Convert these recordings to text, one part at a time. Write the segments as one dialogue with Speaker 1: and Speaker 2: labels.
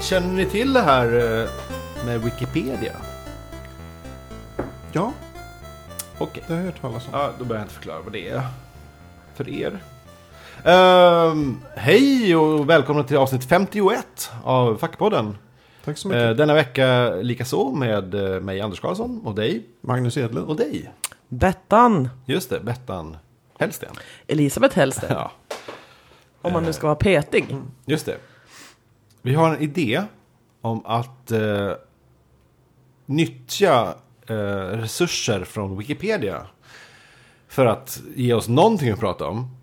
Speaker 1: Känner ni till det här eh, med Wikipedia?
Speaker 2: Ja,
Speaker 1: Okej.
Speaker 2: det har jag hört talas om.
Speaker 1: Ja, då behöver jag inte förklara vad det är för er. Ehm, hej och välkomna till avsnitt 51 av Fackpodden.
Speaker 2: Tack så
Speaker 1: Uh,
Speaker 2: mycket.
Speaker 1: denna vecka likaså med eh, mig Anders Karlsson och dig.
Speaker 2: Magnus Edlund.
Speaker 1: Och dig.
Speaker 3: Bettan.
Speaker 1: Just det, Bettan Hellsten.
Speaker 3: Elisabeth Hellstedt.
Speaker 1: Ja,
Speaker 3: Om man nu ska vara petig.
Speaker 1: just det. Vi har en idé om att eh, nyttja eh, resurser från Wikipedia. För att ge oss någonting att prata om.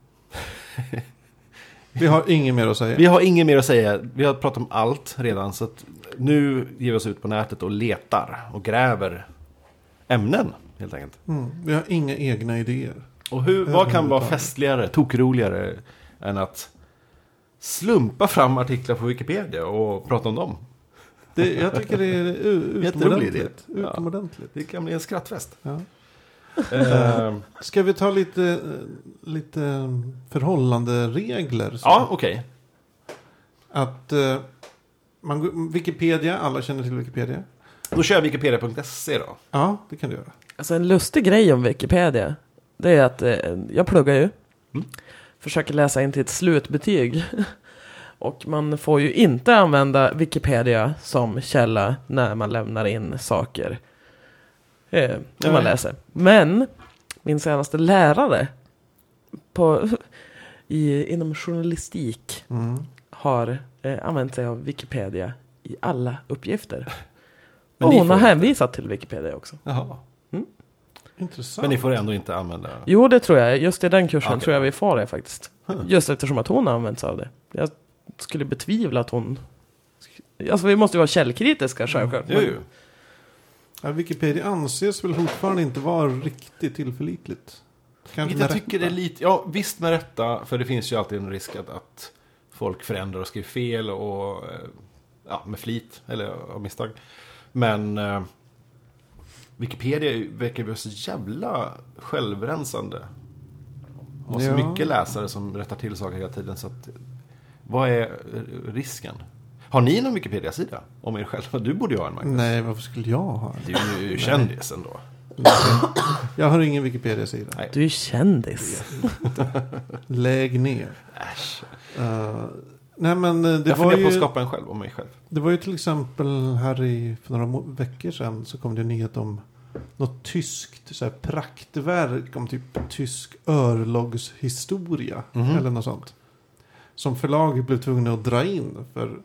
Speaker 2: Vi har inget mer att säga.
Speaker 1: Vi har inget mer att säga. Vi har pratat om allt redan. Så att nu ger vi oss ut på nätet och letar och gräver ämnen. Helt enkelt.
Speaker 2: Mm. Vi har inga egna idéer.
Speaker 1: Och hur, vad kan vara festligare, tokroligare än att slumpa fram artiklar på Wikipedia och prata om dem?
Speaker 2: Det, jag tycker det är u-
Speaker 1: Jätterolig idé.
Speaker 2: utomordentligt.
Speaker 1: Ja.
Speaker 2: utomordentligt.
Speaker 1: Det kan bli en skrattfest.
Speaker 2: Ja.
Speaker 1: Ehm,
Speaker 2: Ska vi ta lite, eh, lite eh, förhållanderegler? så?
Speaker 1: ja, okej.
Speaker 2: Att eh, man, går- Wikipedia, alla känner till Wikipedia.
Speaker 1: Då kör jag wikipedia.se E då.
Speaker 2: Ja, det kan du göra.
Speaker 3: Alltså en lustig grej om Wikipedia. Det är att eh, jag pluggar ju.
Speaker 1: Mm.
Speaker 3: Försöker läsa in till ett slutbetyg. Och man får ju inte använda Wikipedia som källa när man lämnar in saker. Eh, när
Speaker 1: Nej.
Speaker 3: man läser. Men min senaste lärare på, i, inom journalistik
Speaker 1: Mm.
Speaker 3: har eh, använt sig av Wikipedia i alla uppgifter.
Speaker 1: Men
Speaker 3: Och
Speaker 1: ni
Speaker 3: hon har
Speaker 1: får-
Speaker 3: hänvisat till Wikipedia också.
Speaker 1: Jaha.
Speaker 2: Mm. Intressant.
Speaker 1: Men ni får ändå inte använda...
Speaker 3: Jo, det tror jag. Just i den kursen
Speaker 1: Okej.
Speaker 3: tror jag vi får det faktiskt. Just eftersom att hon har använt sig av det. Jag skulle betvivla att hon... Alltså vi måste ju vara källkritiska självklart.
Speaker 1: Jo,
Speaker 3: men-
Speaker 1: jo.
Speaker 2: Ja, Wikipedia anses väl fortfarande inte vara riktigt tillförlitligt. Kanske
Speaker 1: Vilket
Speaker 2: med
Speaker 1: jag tycker
Speaker 2: rätta.
Speaker 1: är lite... Ja, visst med rätta. För det finns ju alltid en risk att, att folk förändrar och skriver fel och... eh, Ja, med flit. Eller av misstag. Men... Eh, Wikipedia är ju- verkar ju vara så jävla självrensande. Och så
Speaker 2: Ja.
Speaker 1: mycket läsare som rättar till saker hela tiden. Så att, vad är eh, risken? Har ni någon Wikipedia-sida? Om er själva? Du borde ju ha en, Magnus.
Speaker 2: Nej, varför skulle jag ha en?
Speaker 1: Du är ju kändis ändå.
Speaker 2: Jag har ingen Wikipedia-sida.
Speaker 1: Nej.
Speaker 3: Du är ju kändis.
Speaker 2: Lägg ner.
Speaker 1: Äsch.
Speaker 2: Eh, nej men eh, det
Speaker 1: jag
Speaker 2: var,
Speaker 1: funderar på att
Speaker 2: ju,
Speaker 1: skapa en själv om mig själv.
Speaker 2: det var ju till exempel här i, för några må- veckor sedan så kom det en nyhet om något tyskt så här, praktverk om typ tysk örlogshistoria
Speaker 1: Mhm.
Speaker 2: eller något sånt. Som förlaget blev tvungna att dra in för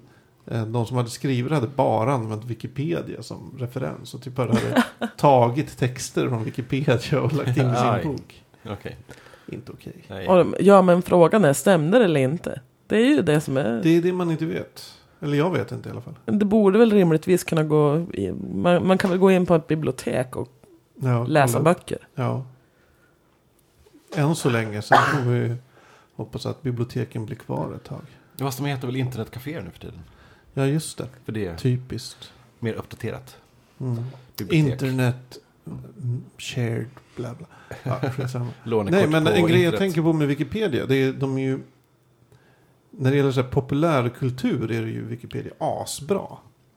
Speaker 2: eh, de som hade skrivit hade bara använt Wikipedia som referens och typ bara hade tagit texter från Wikipedia och lagt in i
Speaker 1: Aj.
Speaker 2: sin bok.
Speaker 1: Okej.
Speaker 2: Inte okej.
Speaker 1: Nej.
Speaker 3: Och de- Ja, men frågan är, stämde det eller inte? Det är ju det som är...
Speaker 2: Det är det man inte vet. Eller jag vet inte i alla fall.
Speaker 3: Det borde väl rimligtvis kunna gå... i- Man, man kan väl gå in på ett bibliotek och
Speaker 2: Ja,
Speaker 3: läsa
Speaker 2: kolla.
Speaker 3: böcker.
Speaker 2: Ja. Än så länge. Sen får vi hoppas att biblioteken blir kvar ett tag.
Speaker 1: Fast de heter väl internetcaféer nu för tiden?
Speaker 2: Ja, just det.
Speaker 1: För det är
Speaker 2: Typiskt.
Speaker 1: mer uppdaterat.
Speaker 2: Mm.
Speaker 1: Bibliotek.
Speaker 2: Internet mm, shared bla bla. Ja, skitsamma.
Speaker 1: Lånekort
Speaker 2: Nej, men
Speaker 1: på
Speaker 2: en grej jag
Speaker 1: internet.
Speaker 2: tänker på med Wikipedia. Det är, de är ju... När det gäller så här populärkultur är det ju Wikipedia asbra.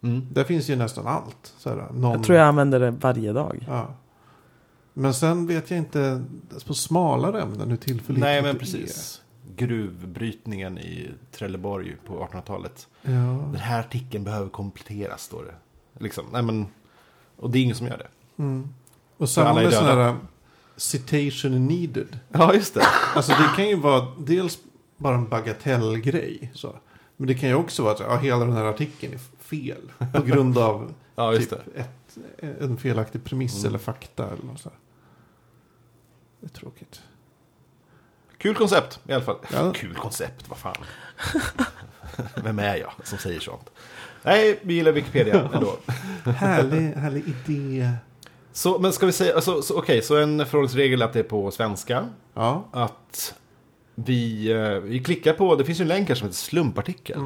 Speaker 1: Mm.
Speaker 2: Där finns ju nästan allt. Så här, någon...
Speaker 3: Jag tror jag använder det varje dag.
Speaker 2: Ja. Men sen vet jag inte alltså på smalare ämnen hur tillförlitligt
Speaker 1: Nej, men
Speaker 2: det
Speaker 1: precis. Gruvbrytningen i Trelleborg på 1800-talet.
Speaker 2: är. Ja.
Speaker 1: Den här artikeln behöver kompletteras, står det. Liksom. Nej, men... Och det är ingen som gör det.
Speaker 2: Mm. Och samma
Speaker 1: alla är
Speaker 2: med
Speaker 1: döda.
Speaker 2: sådana här uh, citation needed.
Speaker 1: Ja, just det.
Speaker 2: Alltså det kan ju vara dels bara en bagatellgrej. Så. Men det kan ju också vara att ja, hela den här artikeln är fel. På grund av
Speaker 1: Ja, just
Speaker 2: typ
Speaker 1: det.
Speaker 2: ett, en felaktig premiss
Speaker 1: Mm.
Speaker 2: eller fakta. Eller något så här. Det är tråkigt.
Speaker 1: Kul koncept i alla fall.
Speaker 2: Ja.
Speaker 1: Kul koncept, vad fan. Vem är jag som säger sånt? Nej, vi gillar Wikipedia ändå.
Speaker 2: Härlig, härlig idé.
Speaker 1: Så, men ska vi säga, alltså, så, okej, så en förhållningsregel är att det är på svenska.
Speaker 2: Ja.
Speaker 1: Att vi, eh, vi klickar på, det finns ju en länk här som heter slumpartikel.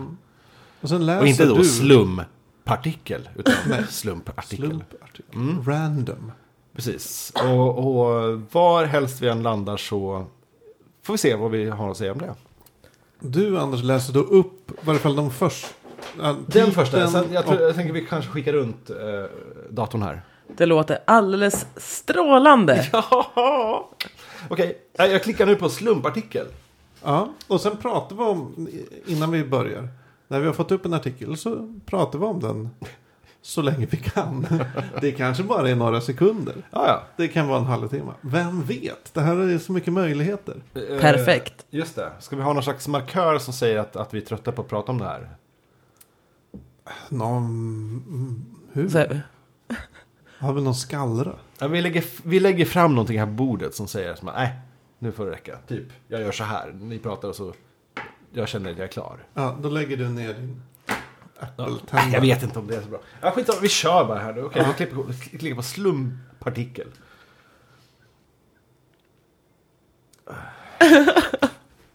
Speaker 2: Och sen läser
Speaker 1: Och inte då
Speaker 2: Alltså, du.
Speaker 1: slumpartikel, utan slumpartikel.
Speaker 2: Slumpartikel.
Speaker 1: Mm.
Speaker 2: Random.
Speaker 1: Precis. Och, och var helst vi än landar så får vi se vad vi har att säga om det.
Speaker 2: Du Anders läser då upp i varje fall de först, typ Den
Speaker 1: Den första. Sen, jag, tror, jag tänker vi kanske skickar runt eh, datorn här.
Speaker 3: Det låter alldeles strålande.
Speaker 1: Jaha! Okej, eh, jag klickar nu på slumpartikel.
Speaker 2: Ja, och sen pratar vi om, innan vi börjar, när vi har fått upp en artikel så pratar vi om den så länge vi kan. Det kanske bara är några sekunder.
Speaker 1: Ja, ja.
Speaker 2: Det kan vara en halvtimme. Vem vet? Det här är så mycket möjligheter.
Speaker 1: Eh,
Speaker 3: Perfekt.
Speaker 1: Just det. Ska vi ha någon slags markör som säger att, att vi är trötta på att prata om det här?
Speaker 2: Någon, mm,
Speaker 3: Så,
Speaker 2: hur?
Speaker 3: här,
Speaker 2: Har vi någon skallra?
Speaker 1: Ja, vi, lägger, vi lägger fram någonting här på bordet som säger som att nej, nu får det räcka. Typ, jag gör så här. Ni pratar och så jag känner att jag är klar.
Speaker 2: Ja, då lägger du ner din
Speaker 1: Nej, jag
Speaker 2: apple
Speaker 1: vet inte om det är så bra. Ja, skitsamma, vi kör bara här nu. Okej, vi klipper, på- klickar på slumpartikel.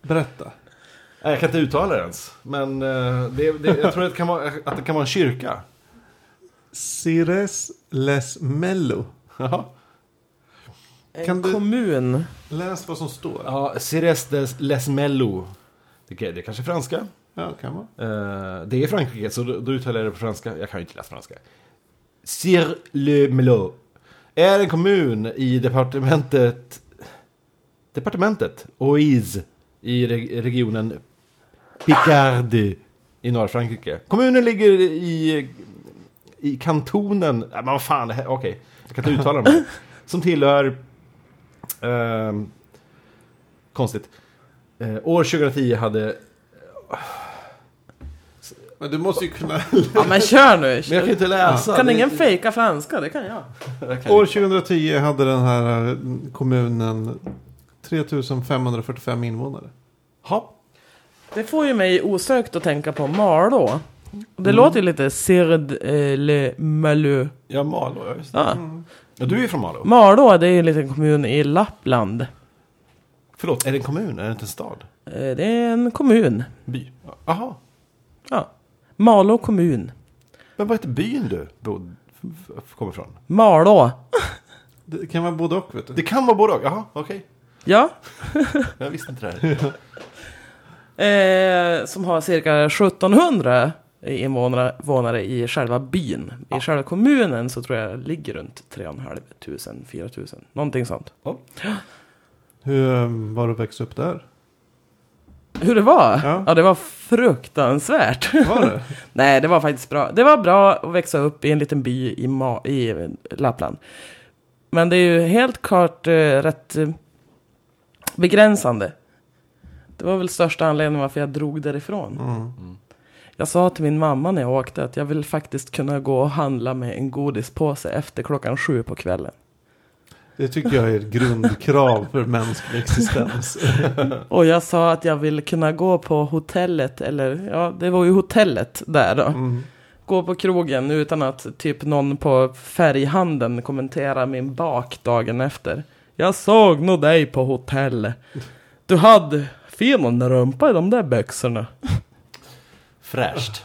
Speaker 2: Berätta.
Speaker 1: Nej, jag kan inte uttala det ens. Men eh, det, det, jag tror att det, kan vara, att det kan vara en kyrka.
Speaker 2: Cires Les Mello.
Speaker 1: Ja,
Speaker 3: en
Speaker 2: Kan du-
Speaker 3: kommun.
Speaker 2: Läs vad som står.
Speaker 1: ja Cires des Les Mello. Det, kan- det kanske är franska.
Speaker 2: Ja, kan vara.
Speaker 1: Eh, det är Frankrike, så då, då uttalar jag det på franska. Jag kan ju inte läsa franska. Cire le Melo är en kommun i departementet... Departementet Oise i reg- regionen Picardie i norra Frankrike. Kommunen ligger i, i kantonen... Nej, men vad fan, det här- okej. Jag kan inte uttala dem. Som tillhör... ehm, konstigt. Eh, år 2010 hade
Speaker 2: Men du måste ju kunna...
Speaker 3: Ja men kör nu.
Speaker 1: Men jag kan inte läsa.
Speaker 3: Kan
Speaker 1: Det-
Speaker 3: ingen fejka franska? Det kan jag.
Speaker 1: Jag kan
Speaker 2: År
Speaker 1: inte.
Speaker 2: 2010 hade den här eh, kommunen 3545 invånare.
Speaker 1: Ja.
Speaker 3: Det får ju mig osökt att tänka på Malå. Och Det låter ju lite Cird eh, le Malö.
Speaker 1: Ja, Malå. Ja, just det.
Speaker 3: Ja.
Speaker 1: ja, du är ju från Malå.
Speaker 3: Malå det är ju en liten kommun i Lappland.
Speaker 1: Förlåt, är det en kommun? Är det inte en stad?
Speaker 3: Eh, Det är en kommun.
Speaker 1: By? Jaha.
Speaker 3: Ja. Malå kommun.
Speaker 1: Men vad heter byn du bod, f- f- kommer ifrån?
Speaker 3: Malå.
Speaker 2: Det kan vara både och vet du.
Speaker 1: Det kan vara både och. Jaha, okej.
Speaker 3: Ja.
Speaker 1: Jag visste inte det här.
Speaker 3: Eh, som har cirka 1700 invånare invånare i själva byn. I själva kommunen så tror jag det ligger runt 3 500, 4 000. Någonting sånt.
Speaker 2: Hur eh, var det att växa upp där?
Speaker 3: Hur det var?
Speaker 2: Ja.
Speaker 3: ja det var fruktansvärt.
Speaker 2: Var det?
Speaker 3: Nej, det var faktiskt bra. Det var bra att växa upp i en liten by i, Ma- i Lappland. Men det är ju helt klart eh, rätt eh, begränsande. Det var väl största anledningen varför jag drog därifrån.
Speaker 2: Mm.
Speaker 3: Jag sa till min mamma när jag åkte att jag vill faktiskt kunna gå och handla med en godispåse efter klockan sju på kvällen.
Speaker 2: Det tycker jag är ett grundkrav för mänsklig existens.
Speaker 3: Och jag sa att jag vill kunna gå på hotellet, eller ja, det var ju hotellet där då.
Speaker 2: Mm.
Speaker 3: gå på krogen utan att typ någon på färghandeln kommenterar min bak dagen efter. Jag såg nog dig på hotell. Du hade fin rumpa i de där byxorna.
Speaker 1: Fräscht.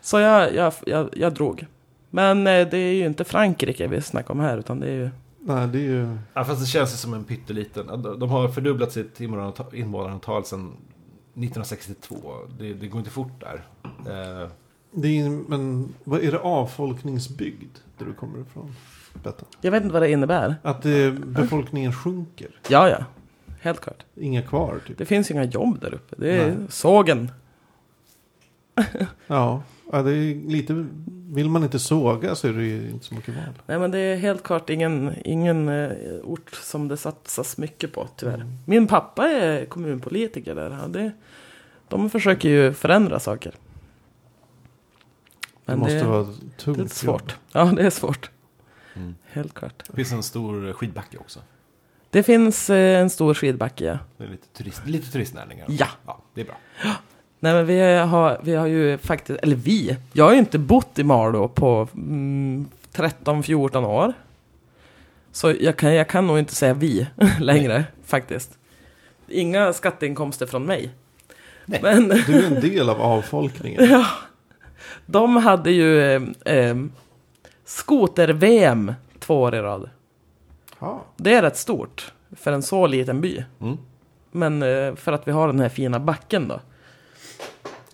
Speaker 3: Så jag, jag, jag, jag drog. Men eh, det är ju inte Frankrike vi snackar om här utan det är ju...
Speaker 2: Nej, det är ju...
Speaker 1: Ja, fast det känns ju som en pytteliten. De har fördubblat sitt invånarantal- invånarantal sedan 1962. Det, det går inte fort där. Eh,
Speaker 2: Det är, ju- men vad är det avfolkningsbygd där du kommer ifrån? Bettan?
Speaker 3: Jag vet inte vad det innebär.
Speaker 2: Att eh, befolkningen sjunker.
Speaker 3: Ja, ja. Helt klart.
Speaker 2: Inga kvar typ.
Speaker 3: Det finns ju inga jobb där uppe. Det är
Speaker 2: Nej.
Speaker 3: sågen.
Speaker 2: Ja, ja det är lite... Vill man inte såga så är det ju inte så mycket val.
Speaker 3: Nej men det är helt klart ingen, ingen eh, ort som det satsas mycket på tyvärr.
Speaker 2: Mm.
Speaker 3: Min pappa är kommunpolitiker där. Han- Det, de försöker ju förändra saker.
Speaker 2: Det måste vara tungt
Speaker 3: det är
Speaker 2: jobb.
Speaker 3: svårt. Ja det är svårt.
Speaker 1: Mm.
Speaker 3: Helt klart.
Speaker 1: det finns en stor skidbacke också.
Speaker 3: Det finns eh, en stor skidbacke ja.
Speaker 1: Det är lite, turist, lite turistnäringar.
Speaker 3: Ja.
Speaker 1: ja. Det är bra.
Speaker 3: Nej men vi har, vi har ju faktiskt, eller vi, jag har ju inte bott i Malå på mm, 13-14 år. Så jag kan, jag kan nog inte säga vi längre faktiskt. Inga skatteinkomster från mig.
Speaker 1: Nej.
Speaker 3: Men
Speaker 2: Du är en del av avfolkningen.
Speaker 3: de hade ju eh, eh, skoter-VM två år i rad.
Speaker 2: Ja.
Speaker 3: Det är rätt stort för en så liten by.
Speaker 1: Mm.
Speaker 3: Men eh, för att vi har den här fina backen då.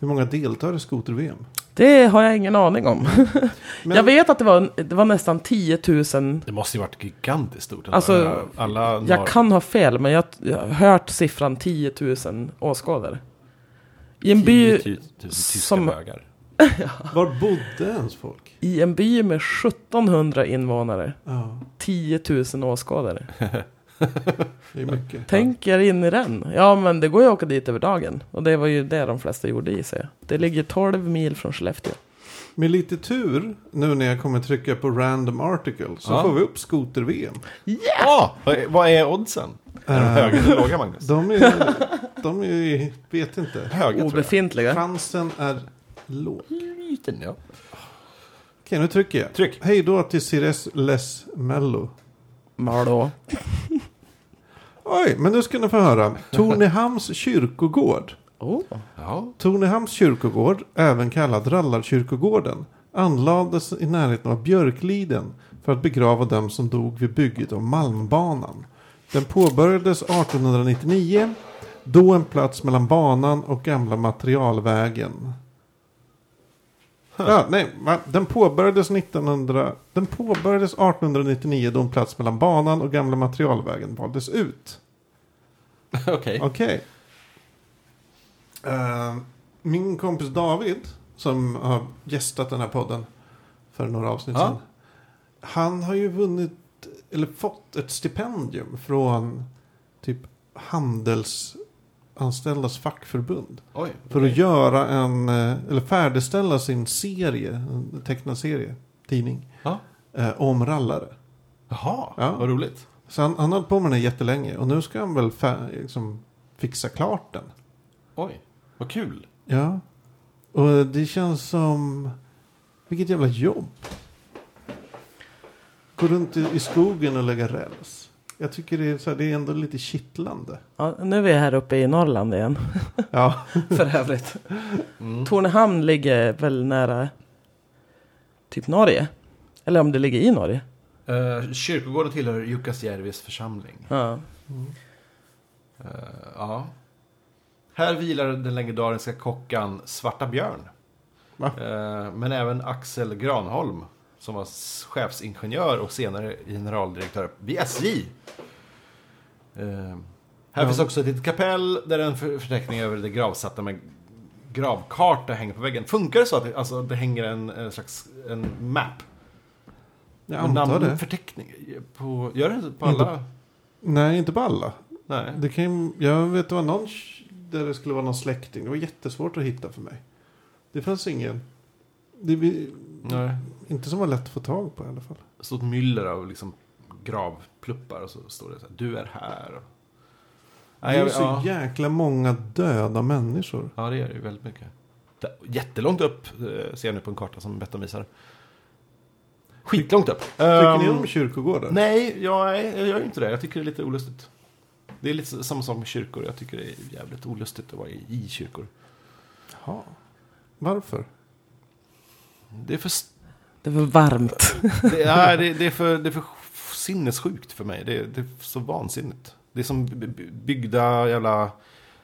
Speaker 2: Hur många deltar i skoter-VM?
Speaker 3: Det har jag ingen aning om.
Speaker 2: Men-
Speaker 3: Jag vet att det var, det var nästan 10 000.
Speaker 1: Det måste ju varit gigantiskt stort.
Speaker 3: Alltså,
Speaker 1: alla norr-
Speaker 3: Jag kan ha fel, men jag, jag har hört siffran 10 000 åskådare. I en, by,
Speaker 1: 10 000 tyska
Speaker 3: som-
Speaker 1: bögar.
Speaker 2: Var bodde ens folk?
Speaker 3: I en by med 1700 invånare,
Speaker 2: Ja,
Speaker 3: 10 000 åskådare.
Speaker 2: det är mycket.
Speaker 3: Tänk er in i den. Ja, men det går ju att åka dit över dagen. Och det var ju det de flesta gjorde i sig. Det ligger 12 mil från Skellefteå.
Speaker 2: Med lite tur, nu när jag kommer trycka på random article, så
Speaker 1: Ja.
Speaker 2: får vi upp skoter-VM.
Speaker 1: Ja, vad är- vad är oddsen? Är de
Speaker 2: Eh,
Speaker 1: höga eller låga, Magnus?
Speaker 2: De är, de är, vet inte.
Speaker 1: Höga, tror
Speaker 3: Obefintliga.
Speaker 2: Chansen är låg.
Speaker 1: jag. Liten, ja.
Speaker 2: Okej, nu trycker jag.
Speaker 1: Tryck.
Speaker 2: Hej då till Cires Les Mello.
Speaker 3: Malå.
Speaker 2: Oj, men nu ska ni få höra. Tornehamns kyrkogård.
Speaker 3: Oh.
Speaker 1: Ja.
Speaker 2: Tornehamns kyrkogård, även kallad Rallarkyrkogården, anlades i närheten av Björkliden för att begrava dem som dog vid bygget av Malmbanan. Den påbörjades 1899, då en plats mellan banan och gamla materialvägen. Ja, nej, va? den, påbörjades 1900, den påbörjades 1899 då en plats mellan banan och gamla materialvägen valdes ut.
Speaker 1: Okej.
Speaker 2: Okej. Eh, min kompis David, som har gästat den här podden för några avsnitt
Speaker 1: Ja.
Speaker 2: sedan. Han har ju vunnit, eller fått ett stipendium från typ handelsanställdas fackförbund.
Speaker 1: Oj.
Speaker 2: För att göra en, eh, eller färdigställa sin serie, en tecknad serie, tidning,
Speaker 1: Ja.
Speaker 2: eh, om rallare.
Speaker 1: Jaha,
Speaker 2: Ja.
Speaker 1: vad roligt.
Speaker 2: Så han, han har hållit på med den här jättelänge och nu ska han väl fär, liksom, fixa klart den.
Speaker 1: Oj, vad kul.
Speaker 2: Ja. Och det känns som... Vilket jävla jobb. Gå runt i i skogen och lägga räls. Jag tycker det är, så här, det är ändå lite kittlande.
Speaker 3: Ja, nu är vi här uppe i Norrland igen.
Speaker 2: Ja.
Speaker 3: För övrigt. Tornehamn ligger väl nära typ Norge? Eller om det ligger i Norge?
Speaker 1: Uh, kyrkogården tillhör Jukkasjärvis församling.
Speaker 3: Ja.
Speaker 1: Eh, ja. Här vilar den legendariska kockan Svarta Björn.
Speaker 2: Va?
Speaker 1: Eh, men även Axel Granholm, som var chefsingenjör och senare generaldirektör vid SJ. Eh, här
Speaker 2: Ja.
Speaker 1: finns också ett litet kapell där en för- förteckning över det gravsatta med gravkarta hänger på väggen. Funkar det så att det, alltså, det hänger en, en slags en map?
Speaker 2: Jag antar det.
Speaker 1: Namnförteckning? På, gör det på
Speaker 2: Inte-
Speaker 1: alla?
Speaker 2: Nej, inte på alla.
Speaker 1: Nej.
Speaker 2: Det kan, ju- jag vet det var någon sh- där det skulle vara någon släkting. Det var jättesvårt att hitta för mig. Det fanns ingen. Det, vi-
Speaker 1: Nej.
Speaker 2: inte som var lätt att få tag på i alla fall.
Speaker 1: stort myller av liksom gravpluppar och så står det så här, du är här. Och...
Speaker 2: Det är
Speaker 1: jag-
Speaker 2: ju så
Speaker 1: ja.
Speaker 2: jäkla många döda människor.
Speaker 1: ja, det är det ju väldigt mycket. Det- Jättelångt upp eh, ser jag nu på en karta som Bettan visar. Skitlångt upp.
Speaker 2: Tycker
Speaker 1: Ehm,
Speaker 2: ni om kyrkogårdar?
Speaker 1: Nej, jag, är- jag gör inte det. Jag tycker det är lite olustigt. Det är lite så- samma sak med kyrkor. Jag tycker det är jävligt olustigt att vara i, i kyrkor.
Speaker 2: Jaha. Varför?
Speaker 1: Det är för, s-
Speaker 3: Det var varmt.
Speaker 1: det är, det, det är för, det är för sinnessjukt för mig. Det, är- det är så vansinnigt. Det är som by- by- byggda jävla...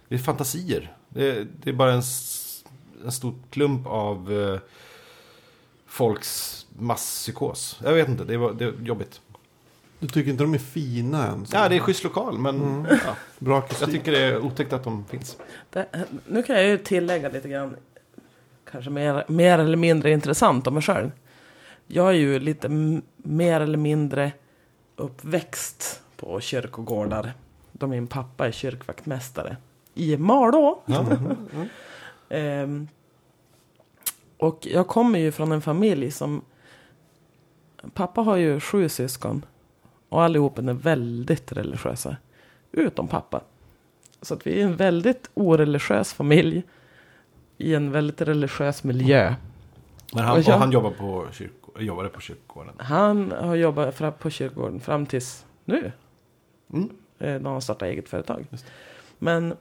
Speaker 1: Det är fantasier. Det, det är bara en, s- en stor klump av eh, folks masspsykos. Jag vet inte, det är, det är jobbigt.
Speaker 2: Du tycker inte de är fina än? så?
Speaker 1: Ja, det är schysst lokal, men
Speaker 3: Mm.
Speaker 1: ja,
Speaker 2: Bra
Speaker 1: jag
Speaker 2: kostym.
Speaker 1: tycker det är otäckt att de finns.
Speaker 3: Det, nu kan jag ju tillägga lite grann, kanske mer, mer eller mindre intressant om mig själv. Jag är ju lite m- mer eller mindre uppväxt på kyrkogårdar. Då min pappa är kyrkvaktmästare i Malå. Ehm, och jag kommer ju från en familj som... Pappa har ju sju syskon. Och allihopa är väldigt religiösa. Utom pappa. Så att vi är en väldigt oreligiös familj. I en väldigt religiös miljö.
Speaker 1: Men
Speaker 3: Och
Speaker 1: han,
Speaker 3: jag-
Speaker 1: och han jobbar på kyrko, jobbade på kyrkogården.
Speaker 3: Han har jobbat fra- på kyrkogården fram tills nu.
Speaker 1: Mm.
Speaker 3: eh, När han startade eget företag.
Speaker 1: Just
Speaker 3: Men...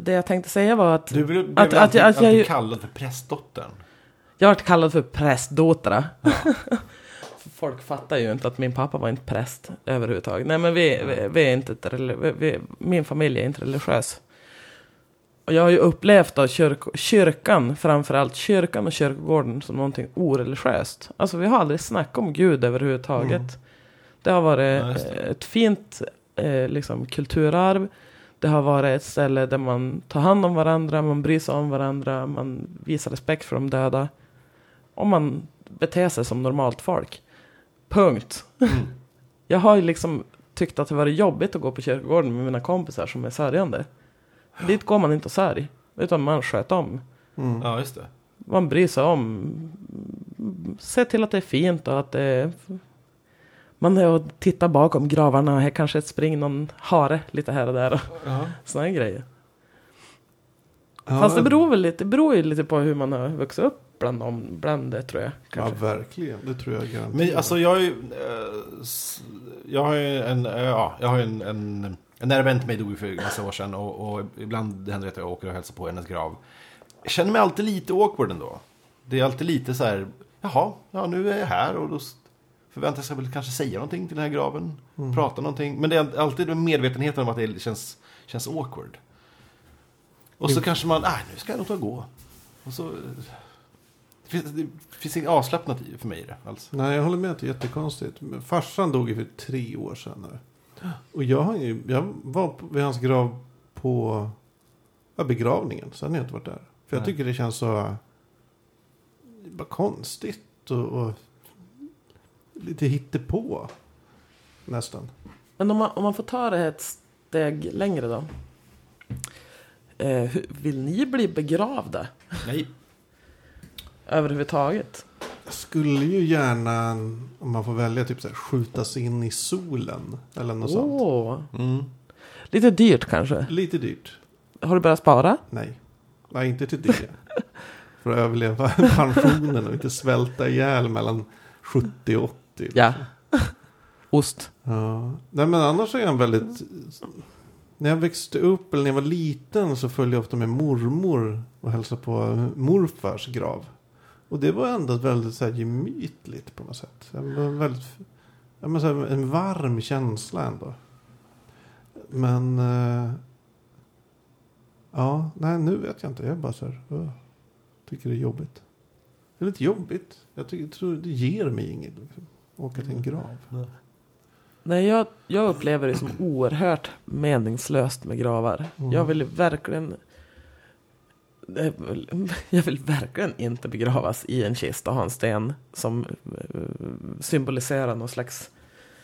Speaker 3: Det jag tänkte säga var att...
Speaker 1: Du blev, blev
Speaker 3: Att-
Speaker 1: att,
Speaker 3: att jag-
Speaker 1: alltid,
Speaker 3: att jag-
Speaker 1: alltid kallad för prästdottern.
Speaker 3: Jag har varit kallad för prästdotra. Folk fattar ju inte att min pappa var inte präst överhuvudtaget. Nej men vi, vi, vi är inte ett, reli- vi, vi, min familj är inte religiös. Och jag har ju upplevt då kyrk- kyrkan, framförallt kyrkan och kyrkogården som någonting oreligiöst. Alltså vi har aldrig snackat om Gud överhuvudtaget. Det har varit
Speaker 1: Ja, just det.
Speaker 3: eh, ett fint eh, liksom, kulturarv. Det har varit ett ställe där man tar hand om varandra, man bryr sig om varandra, man visar respekt för de döda. Och man beter sig som normalt folk. Punkt.
Speaker 1: Mm.
Speaker 3: Jag har ju liksom tyckt att det varit jobbigt att gå på kyrkogården med mina kompisar som är sörjande. Dit går man inte och sörj, utan man sköt om.
Speaker 2: Mm.
Speaker 1: Ja, just det.
Speaker 3: Man bryr sig om. Se till att det är fint och att det är... Man är och tittar bakom gravarna. Här kanske ett spring någon hare lite här och där. Och
Speaker 1: Ja.
Speaker 3: sådana grejer.
Speaker 2: Ja,
Speaker 3: Fast det beror väl lite, det beror ju lite på hur man har vuxit upp bland, dem, bland det tror jag.
Speaker 2: Ja,
Speaker 3: Kanske.
Speaker 2: verkligen. Det tror jag garanterat.
Speaker 1: Men alltså jag har ju... eh, s- Jag har ju en... eh, Ja, jag har ju en... en en nära vän till mig dog ju för en massa år sedan och, och ibland händer det att jag åker och hälsar på hennes grav. Jag känner mig alltid lite awkward ändå. Det är alltid lite så här, jaha, ja, nu är jag här och då s- förväntas jag väl kanske säga någonting till den här graven. Prata någonting. Men det är alltid med medvetenheten om att det känns, känns awkward. Och så kanske man, nej nu ska jag nog ta och gå. Och så... eh, Det finns, det finns inget avslappnat i- för mig i det alls.
Speaker 2: Nej, jag håller med att det är jättekonstigt. Men Farsan dog ju för tre år sedan nu. Och jag, har ju, jag var på- vid hans grav på ja, begravningen. Sen har jag inte varit där. För jag
Speaker 1: Nej.
Speaker 2: tycker det känns så bara konstigt och, och lite hittepå. Nästan.
Speaker 3: Men om man, om man får ta det här ett steg längre då. Eh, hur, vill ni bli begravda
Speaker 1: Nej.
Speaker 3: överhuvudtaget?
Speaker 2: Jag skulle ju gärna, om man får välja, typ så här, skjutas in i solen. Eller något sånt.
Speaker 3: Åh,
Speaker 1: Mm.
Speaker 3: lite dyrt kanske.
Speaker 2: Lite dyrt.
Speaker 3: Har du börjat spara?
Speaker 2: Nej. Nej, inte till det. För att överleva pensionen och inte svälta ihjäl mellan 70 och 80.
Speaker 3: Ja. Ost.
Speaker 2: Ja. Nej, men annars är jag en väldigt... När jag växte upp eller när jag var liten så följde jag ofta med mormor och hälsade på morfars grav. Och det var ändå väldigt så här, gemytligt på något sätt. Det var en väldigt, ja, men, så här, en varm känsla ändå. Men... eh, ja, nej nu vet jag inte. Jag är bara så här... "Åh, tycker det är jobbigt. Det är lite jobbigt. Jag tycker, tror det ger mig inget. Liksom. Åka till en grav.
Speaker 3: Nej, jag, jag upplever det som oerhört meningslöst med gravar.
Speaker 2: Mm.
Speaker 3: Jag vill verkligen... Eh, Jag vill verkligen inte begravas i en kista och ha en sten som eh, symboliserar någon slags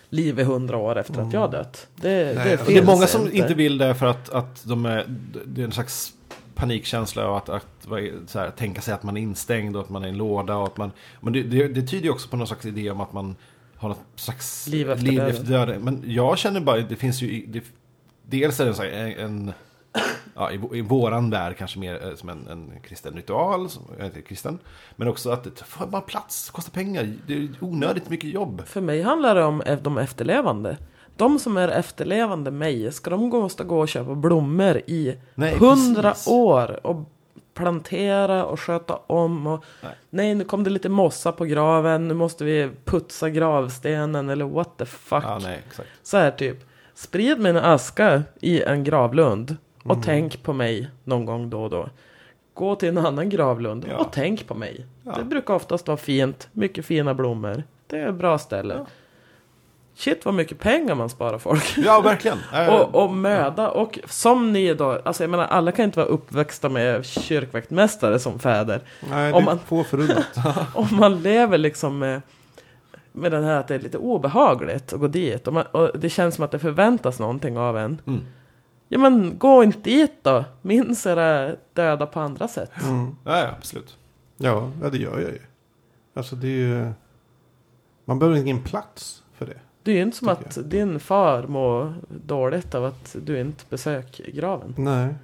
Speaker 3: liv i hundra år efter att jag har dött. Det, det,
Speaker 2: Nej,
Speaker 3: finns
Speaker 1: Och det är många som
Speaker 3: inte.
Speaker 1: inte vill det för att, att de är, det är en slags panikkänsla och att, att vad är- så här, tänka sig att man är instängd och att man är i en låda. Och att man, men det, det, det tyder ju också på någon slags idé om att man har något slags
Speaker 3: Liv efter döden.
Speaker 1: döden. Men jag känner bara att det finns ju, i- det, dels är det så här, en, en ja, i, vå- i våran värld kanske mer eh, som en, en kristen ritual, som, jag är inte kristen. Men också att det tar bara plats, kostar pengar, det är onödigt mycket jobb.
Speaker 3: För mig handlar det om de efterlevande. De som är efterlevande mig, ska de gå- måste gå och köpa blommor i
Speaker 1: Nej,
Speaker 3: hundra
Speaker 1: precis.
Speaker 3: år och plantera och sköta om och
Speaker 1: Nej.
Speaker 3: nej. nu kom det lite mossa på graven, nu måste vi putsa gravstenen eller what the fuck.
Speaker 1: Ja, nej, exakt.
Speaker 3: Så här typ, sprid min aska i en gravlund och
Speaker 1: Mm.
Speaker 3: tänk på mig någon gång då och då. Gå till en annan gravlund
Speaker 1: Ja.
Speaker 3: och tänk på mig.
Speaker 1: Ja.
Speaker 3: Det brukar oftast vara fint, mycket fina blommor. Det är ett bra ställe. Shit vad mycket pengar man sparar folk.
Speaker 1: Ja, verkligen. Eh,
Speaker 3: Och, och möda och som ni då, alltså jag menar alla kan inte vara uppväxta med kyrkvaktmästare som fäder.
Speaker 2: Nej,
Speaker 3: Om
Speaker 2: det
Speaker 3: man-
Speaker 2: är få förunnat.
Speaker 3: Om man lever liksom med, med den här att det är lite obehagligt att gå dit och, man, och det känns som att det förväntas någonting av en.
Speaker 1: Mm.
Speaker 3: Ja men gå inte dit då, minns era döda på andra sätt.
Speaker 2: Mm.
Speaker 1: Ja, ja, absolut.
Speaker 2: Ja, ja, det gör jag ju. Alltså det är ju... Man behöver ingen plats för det.
Speaker 3: Det är ju inte som
Speaker 2: Tycker
Speaker 3: att din far mår dåligt av att du inte besöker graven.
Speaker 2: Nej.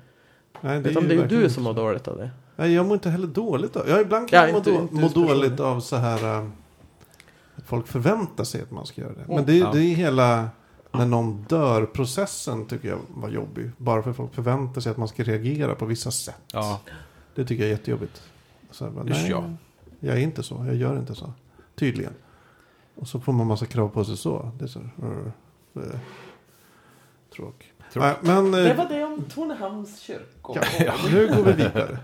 Speaker 2: Nej,
Speaker 3: Utan det är ju
Speaker 2: verkligen
Speaker 3: du
Speaker 2: inte
Speaker 3: som
Speaker 2: så.
Speaker 3: mår dåligt av det.
Speaker 2: Nej, jag mår inte heller dåligt av. Ja, ibland kan
Speaker 3: Ja,
Speaker 2: jag må,
Speaker 3: inte-
Speaker 2: då,
Speaker 3: inte
Speaker 2: må
Speaker 3: just
Speaker 2: dåligt
Speaker 3: personligt.
Speaker 2: av så här... ähm, Att folk förväntar sig att man ska göra det. Men
Speaker 3: Mm.
Speaker 2: det,
Speaker 1: Ja.
Speaker 2: det är hela... När någon dör processen tycker jag var jobbig. Bara för att folk förväntar sig att man ska reagera på vissa sätt.
Speaker 1: Ja.
Speaker 2: Det tycker jag är jättejobbigt. Så jag, bara,
Speaker 1: Usch,
Speaker 2: nej,
Speaker 1: ja.
Speaker 2: jag är inte så, jag gör inte så. Tydligen. Och så får man massa krav på sig så. Det är så. Uh, uh, tråk. Nej, men
Speaker 3: Det
Speaker 2: eh,
Speaker 3: var det om Tornehamns kyrkogård.
Speaker 2: ja, nu går vi vidare.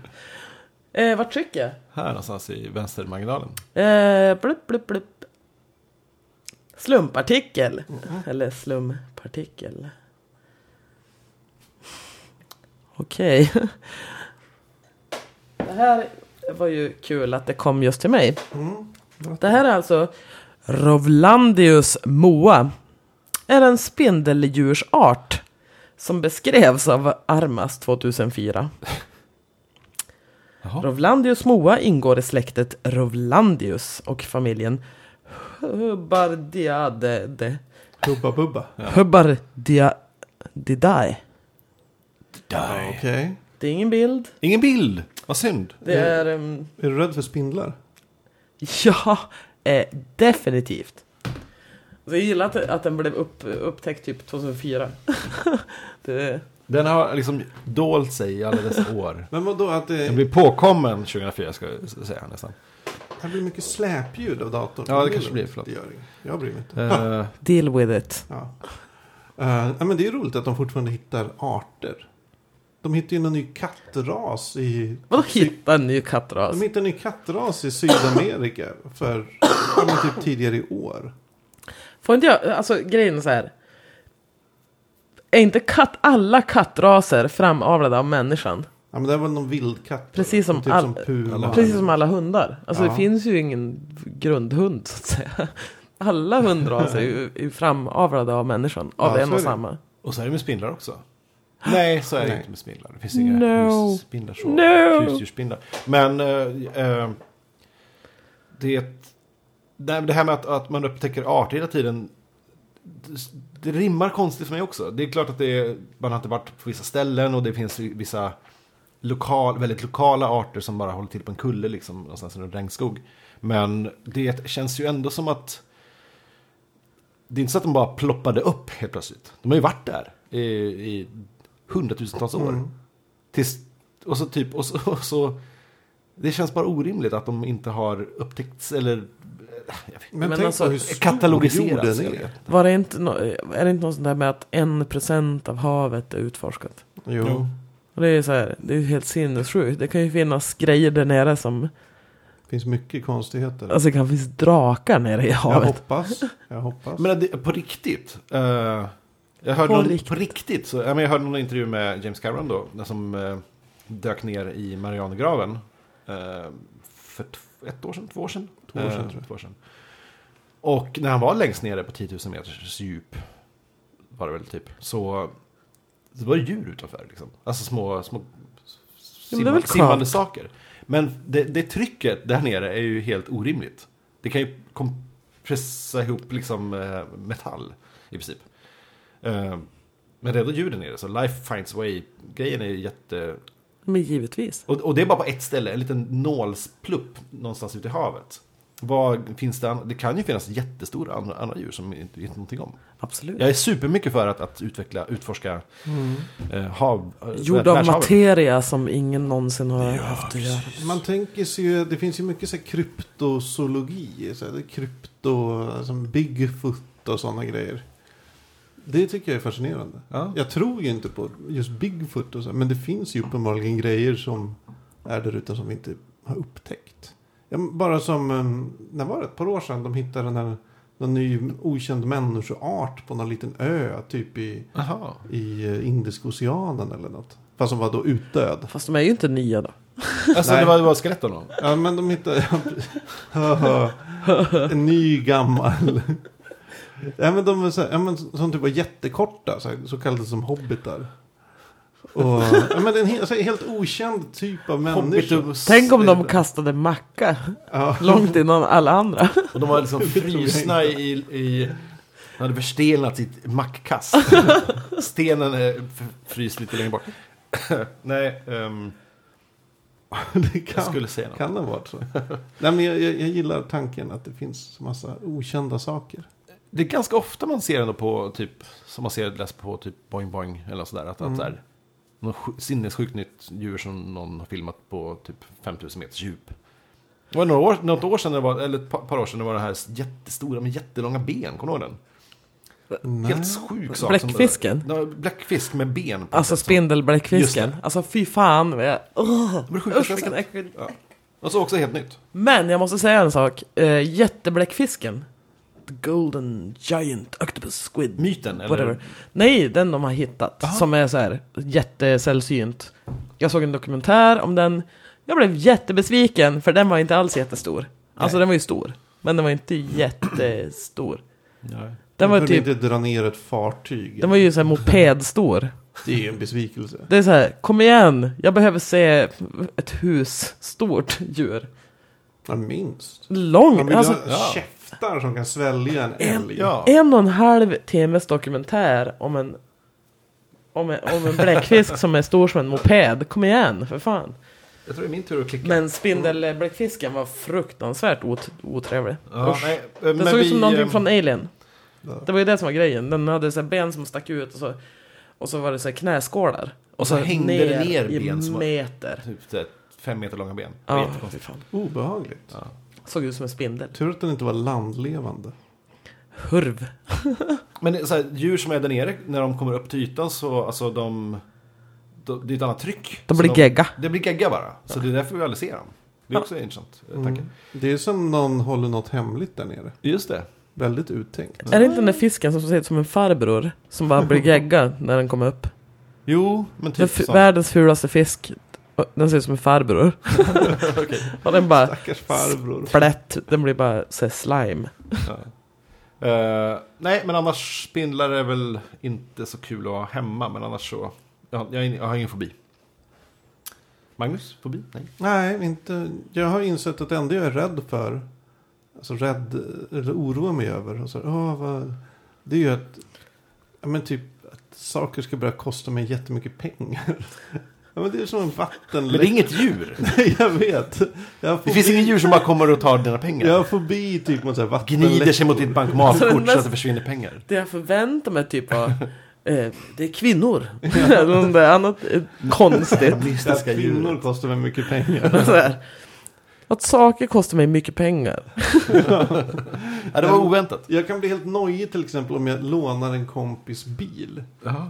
Speaker 3: Eh, vart trycker jag?
Speaker 1: Här någonstans i vänstermarginalen.
Speaker 3: Eh, blup, blup, blup. Slumpartikel. Eller slumpartikel. Okej. Det här var ju kul att det kom just till mig. Det här är alltså Rovlandius moa. Är en spindeldjursart som beskrevs av Armas 2004.
Speaker 1: Jaha.
Speaker 3: Rovlandius moa ingår i släktet Rovlandius och familjen Hubbardiade.
Speaker 2: Hubba Bubba. Ja,
Speaker 3: Hubbardiadidae.
Speaker 2: Okej.
Speaker 3: Det är ingen bild.
Speaker 1: Ingen bild! Vad synd.
Speaker 3: Det är... ehm,
Speaker 2: Är du rädd för spindlar?
Speaker 3: Ja, eh, definitivt. Så jag gillar att, att den blev upp, upptäckt typ 2004. det,
Speaker 1: Den har liksom dolt sig i alla dessa år.
Speaker 2: Men vadå att det,
Speaker 1: Den blir påkommen 2004 ska jag säga nästan.
Speaker 2: det blir mycket släpljud av datorn?
Speaker 1: Ja, det kanske blir, förlåt.
Speaker 2: Det gör inget. Jag bryr mig inte.
Speaker 1: Eh,
Speaker 3: deal with it.
Speaker 2: Ja. Eh, ja, men det är roligt att de fortfarande hittar arter. De hittar ju någon ny kattras i...
Speaker 3: Vadå hitta en ny kattras?
Speaker 2: De hittar en ny kattras i Sydamerika för ja, men typ tidigare i år.
Speaker 3: Får inte jag, alltså grejen är så här. Är inte katt, alla kattraser framavlade av människan?
Speaker 2: Ja, men det var någon vildkatt.
Speaker 3: Precis som
Speaker 2: typ
Speaker 3: all-
Speaker 2: som puma.
Speaker 3: Precis som alla hundar. Alltså
Speaker 2: Ja.
Speaker 3: det finns ju ingen grundhund så att säga. Alla hundraser är ju är ju framavlade av människan. Av
Speaker 2: Ja,
Speaker 3: en
Speaker 2: så är
Speaker 3: och
Speaker 2: det.
Speaker 3: samma.
Speaker 1: och så är det med spindlar också. Nej, så är det
Speaker 2: Nej.
Speaker 1: inte med spindlar. Det finns inga
Speaker 3: No.
Speaker 1: husspindlar så.
Speaker 3: No.
Speaker 1: Husdjursspindlar. Men eh, eh, det, är ett- Nej, men det här med att, att man upptäcker arter hela tiden. det- Det rimmar konstigt för mig också. Det är klart att det är, man har inte varit på vissa ställen och det finns ju vissa lokal, väldigt lokala arter som bara håller till på en kulle liksom, någonstans i en regnskog. Men det känns ju ändå som att det är inte så att de bara ploppade upp helt plötsligt. De har ju varit där i, i hundratusentals år.
Speaker 2: Mm.
Speaker 1: Tills, och så typ, och så, och så... Det känns bara orimligt att de inte har upptäckts eller... Jag vet,
Speaker 2: Men,
Speaker 3: Men
Speaker 2: tänk
Speaker 3: alltså,
Speaker 2: på hur stor
Speaker 1: katalogiseras.
Speaker 2: jorden
Speaker 1: jag
Speaker 2: är.
Speaker 1: vet.
Speaker 3: Var det inte, nå- är det inte något sånt där med att 1% av havet är utforskat?
Speaker 2: Jo.
Speaker 1: Jo.
Speaker 3: Och det är ju så här, det är ju helt sinnessjukt. Det kan ju finnas grejer där nere som,
Speaker 2: Det finns mycket konstigheter.
Speaker 3: alltså det kan finnas drakar nere i
Speaker 2: jag
Speaker 3: havet.
Speaker 2: hoppas. Jag hoppas.
Speaker 1: Men det, på riktigt. eh, jag hörde
Speaker 3: På
Speaker 1: någon,
Speaker 3: riktigt.
Speaker 1: På riktigt så, ja, men jag hörde någon intervju med James Cameron då. när Som eh, dök ner i Marianergraven. eh, för t- ett år sedan, två år sedan.
Speaker 2: Två år sedan,
Speaker 1: Eh,
Speaker 2: tror jag.
Speaker 1: två år sedan. Och när han var längst nere på 10 000 meters djup. Var det väl typ. Så det var djur utanför. Liksom. Alltså små, små
Speaker 3: Ja, men
Speaker 1: simma,
Speaker 3: det är väl
Speaker 1: simmande
Speaker 3: skönt.
Speaker 1: saker. Men det, det trycket där nere är ju helt orimligt. Det kan ju kompressa ihop liksom eh, metall i princip. Eh, men det är ändå djur där nere, så life finds a way-grejen är ju jätte...
Speaker 3: Men givetvis.
Speaker 1: Och, och det är bara på ett ställe, en liten nålsplupp någonstans ute i havet. Vad finns det, an- det kan ju finnas jättestora andra, andra djur som vi inte vet någonting om.
Speaker 3: Absolut.
Speaker 1: Jag är supermycket för att, att utveckla, utforska
Speaker 2: Mm.
Speaker 1: eh, hav... eh,
Speaker 3: Gjord av
Speaker 1: världshaven.
Speaker 3: materia som ingen någonsin har haft att göra.
Speaker 2: Man tänker sig ju, det finns ju mycket så här kryptozoologi. Så här, det är krypto, alltså Bigfoot och sådana grejer. Det tycker jag är fascinerande.
Speaker 1: Ja.
Speaker 2: Jag tror ju inte på just Bigfoot och så, här, men det finns ju uppenbarligen grejer som är där ute som vi inte har upptäckt. Ja, men Bara som, eh, när var det? Ett par år sedan de hittade den här, någon ny okänd människoart på någon liten ö, typ i,
Speaker 1: Jaha.
Speaker 2: i eh, Indiska oceanen eller något. Fast som var då utdöd.
Speaker 3: Fast de är ju inte nya då.
Speaker 1: Alltså
Speaker 2: Nej.
Speaker 1: det var, det var skelett av någon?
Speaker 2: Ja men de hittade... en ny gammal. ja men de är så här, ja, men som typ var jättekorta. Så, här, så kallade som hobbitar. Och, ja, men en he- så här, helt okänd typ av människor.
Speaker 1: Hobbitus.
Speaker 3: Tänk om de kastade macka
Speaker 2: Ja.
Speaker 3: långt innan alla andra.
Speaker 1: Och de var liksom
Speaker 2: tror jag
Speaker 1: frysna i... i de hade förstelnat sitt mackkast. Stenen är f- fryst lite längre bort. Nej, ehm,
Speaker 2: Det
Speaker 1: jag
Speaker 2: kan,
Speaker 1: skulle säga något.
Speaker 2: kan det ha varit så. Nej men jag, jag, jag gillar tanken att det finns massa okända saker.
Speaker 1: Det är ganska ofta man ser ändå på typ, som man ser läst på typ Boing Boing eller något sådär. Att, att så här, något sj- sinnessjukt nytt djur som någon har filmat på typ 5000 meters djup. Det var några år, något år sedan, det var, eller ett par, par år sedan, det var det här jättestora med jättelånga ben. Kommer du ihåg den?
Speaker 2: Nej.
Speaker 1: Helt sjuk sak. som-
Speaker 3: Bläckfisken.
Speaker 1: Ja, Bläckfisk med ben på.
Speaker 3: Alltså
Speaker 1: Just
Speaker 3: spindelbläckfisken. Alltså fy fan. vad jag- Åh,
Speaker 1: Men det sjukaste
Speaker 3: Usch
Speaker 1: jag
Speaker 3: vilken
Speaker 1: sett.
Speaker 3: äckel.
Speaker 1: Och så också helt nytt.
Speaker 3: Men jag måste säga en sak. Eh, jättebläckfisken. The Golden Giant Octopus Squid.
Speaker 1: Myten, eller?
Speaker 3: Whatever. Nej, den de har hittat.
Speaker 1: Aha.
Speaker 3: Som är så här jättesällsynt. Jag såg en dokumentär om den. Jag blev jättebesviken för den var inte alls jättestor. Alltså
Speaker 1: Nej.
Speaker 3: den var ju stor. Men den var inte jättestor.
Speaker 1: Nej.
Speaker 3: Den var
Speaker 2: Man
Speaker 3: typ...
Speaker 2: kunde inte dra ner ett fartyg.
Speaker 3: Den var ju så här mopedstor.
Speaker 2: Det är en besvikelse.
Speaker 3: Det är så här, kom igen, jag behöver se ett hus, stort djur.
Speaker 2: Ja, minst. Man
Speaker 3: Lång,
Speaker 2: vill
Speaker 3: alltså
Speaker 2: ha
Speaker 1: ja.
Speaker 2: käftar som kan svälja en älg.
Speaker 1: Ja.
Speaker 3: en och en halv timmes dokumentär om en, om en, om en bläckfisk som är stor som en moped. Kom igen, för fan.
Speaker 1: Jag tror det är min tur att klicka.
Speaker 3: Men spindelbläckfisken var fruktansvärt ot- otrevlig.
Speaker 1: ja,
Speaker 3: Usch.
Speaker 1: nej, eh,
Speaker 3: Den
Speaker 1: men
Speaker 3: såg ut
Speaker 1: vi,
Speaker 3: som någonting
Speaker 1: eh,
Speaker 3: från Alien.
Speaker 2: Ja.
Speaker 3: Det var ju det som var grejen. Den hade så här ben som stack ut och så, och så var det så här knäskålar.
Speaker 1: Och så hängde det ner ben som
Speaker 3: i
Speaker 1: var-
Speaker 3: meter.
Speaker 1: Typ så här fem meter långa ben. Det är
Speaker 3: Ja, fy
Speaker 1: jättekonstigt.
Speaker 3: fan.
Speaker 2: Obehagligt.
Speaker 1: Ja.
Speaker 3: Såg ut som en spindel.
Speaker 2: Tur att den inte var landlevande.
Speaker 3: Hurv.
Speaker 1: Men det är så här, djur som är där nere, när de kommer upp till ytan så, alltså de... de det är ett annat tryck.
Speaker 3: De
Speaker 1: Så
Speaker 3: blir gegga.
Speaker 1: Det blir gegga bara. Så det är därför vi aldrig ser dem. Det är
Speaker 3: Ja.
Speaker 1: också intressant. eh,
Speaker 2: Mm.
Speaker 1: Tanke.
Speaker 2: Det är som någon håller något hemligt där nere.
Speaker 1: Just det.
Speaker 2: Väldigt uttänkt.
Speaker 3: Är det inte den där fisken som ser ut som en farbror? Som bara blir gegga när den kommer
Speaker 2: Typ
Speaker 3: upp.
Speaker 1: Jo, men
Speaker 3: Den
Speaker 1: typ
Speaker 3: f-
Speaker 1: sånt.
Speaker 3: världens fulaste fisk. Den ser ut som en farbror. Och den bara
Speaker 2: Stackars farbror.
Speaker 3: plätt. Den blir bara så här slime.
Speaker 1: Ja. Eh, nej, men annars spindlar är väl inte så kul att ha hemma. Men annars så... Jag, har- jag, har ingen- jag har ingen fobi. Magnus? Fobi? Nej.
Speaker 2: Nej, inte. Jag har insett att det enda jag är rädd för. Alltså rädd, eller oroar mig över. Och så, här, "Åh, vad, det är ju att, ja, men typ, att saker ska börja kosta mig jättemycket pengar. Ja, men det är som en
Speaker 1: Men det är
Speaker 2: vattenläcka.
Speaker 1: inget djur.
Speaker 2: Nej, jag vet. Jag har
Speaker 1: Det finns inget djur som bara kommer och tar dina pengar.
Speaker 2: Jag har fobi typ mot så här
Speaker 1: Gnider sig mot ditt bankomatkort så
Speaker 3: Mest-
Speaker 1: att det försvinner pengar.
Speaker 3: Det jag förväntar mig typ var... Eh, det är kvinnor. Eller något där annat eh, konstigt.
Speaker 1: Mystiska
Speaker 2: Att
Speaker 1: djur.
Speaker 2: kvinnor kostar mig mycket pengar.
Speaker 3: Så här. Att saker kostar mig mycket pengar.
Speaker 1: Ja, det var oväntat.
Speaker 2: Jag kan bli helt nojig till exempel om jag lånar en kompis bil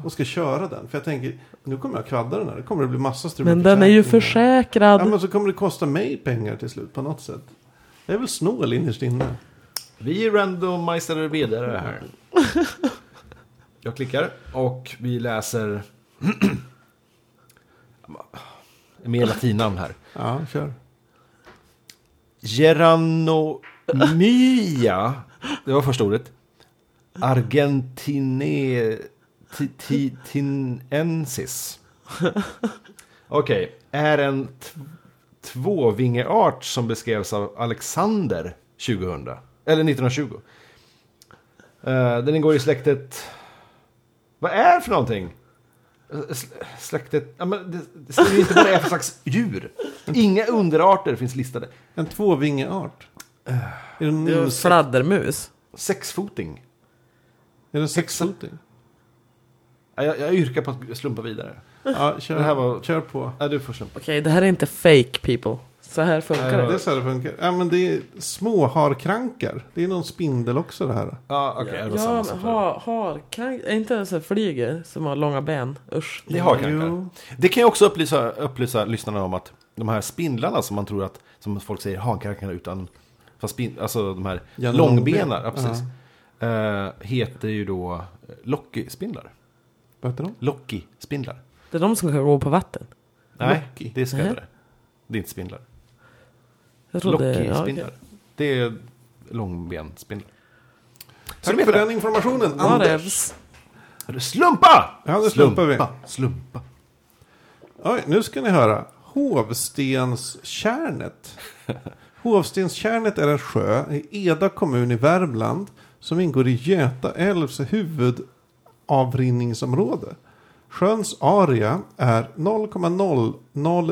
Speaker 2: och ska köra den. För jag tänker, nu kommer jag kvadda den här. Det kommer det bli massa strul med
Speaker 3: Men den är ju
Speaker 2: försäkringar.
Speaker 3: försäkrad.
Speaker 2: Ja, men så kommer det kosta mig pengar till slut på något sätt. Jag är väl snål innerst inne.
Speaker 1: Vi randomiserar vidare här. Jag klickar och vi läser... Mer latinnamn här.
Speaker 2: Ja, kör.
Speaker 1: Geranomia. Det var första ordet. Argentine... ti- ti- Tinensis. Okej. Är en t- tvåvingeart som beskrevs av Alexander 2000. Eller 1920. Eh, Den ingår i släktet... Vad är det för någonting? Eh, sl- Släktet... Ja, men det, det skriver inte vad det är för slags djur. Inga underarter finns listade.
Speaker 2: En tvåvingeart. Är den,
Speaker 3: Det är ju
Speaker 2: är
Speaker 3: fladdermus.
Speaker 1: Sexfoting.
Speaker 2: den sexfoting?
Speaker 1: Ja, Jag, jag yrkar på att slumpa vidare.
Speaker 2: Ja, kör,
Speaker 1: Det här var-
Speaker 2: kör på.
Speaker 1: Ja, du får slumpa.
Speaker 3: Okej, det här är inte fake people. Så här
Speaker 1: Nej,
Speaker 3: funkar
Speaker 1: det
Speaker 3: det.
Speaker 2: Det är så här det funkar. Ja, men det är småharkrankar. Det är någon spindel också det här.
Speaker 1: Ja, okej. det var samma
Speaker 3: ja,
Speaker 1: sak
Speaker 3: men
Speaker 1: där.
Speaker 3: har, har, kan, är inte ens en flyger som har långa ben? Usch.
Speaker 1: Det har kanske.
Speaker 2: Jo.
Speaker 1: Det kan jag också upplysa, upplysa lyssnarna om att de här spindlarna som man tror att, som folk säger, hankrankarna utan, fast spin, alltså de här
Speaker 2: Ja,
Speaker 1: långbena,
Speaker 2: långben.
Speaker 1: ja, precis. Eh, heter ju då eh, Locky-spindlar.
Speaker 2: Vad heter de?
Speaker 1: Locky-spindlar.
Speaker 3: Det är de som kan gå på vatten.
Speaker 1: Nej,
Speaker 2: Locky.
Speaker 1: det är sköldare.
Speaker 3: Nej.
Speaker 1: Det är inte spindlar.
Speaker 3: Jag trodde... Ja,
Speaker 1: Locky-spindlar.
Speaker 3: okej.
Speaker 1: Det är långbenspindlar. Så
Speaker 2: Tack
Speaker 1: du vet
Speaker 2: för
Speaker 1: det.
Speaker 2: den informationen, Anders.
Speaker 3: Whatevs.
Speaker 1: Slumpa!
Speaker 2: Ja, det slumpar vi.
Speaker 1: slumpa, slumpa.
Speaker 2: Oj, nu ska ni höra. Hovstenstjärnet. Hovstenstjärnet är en sjö i Eda kommun i Värmland som ingår i Göta älvs huvudavrinningsområde. Sjöns area är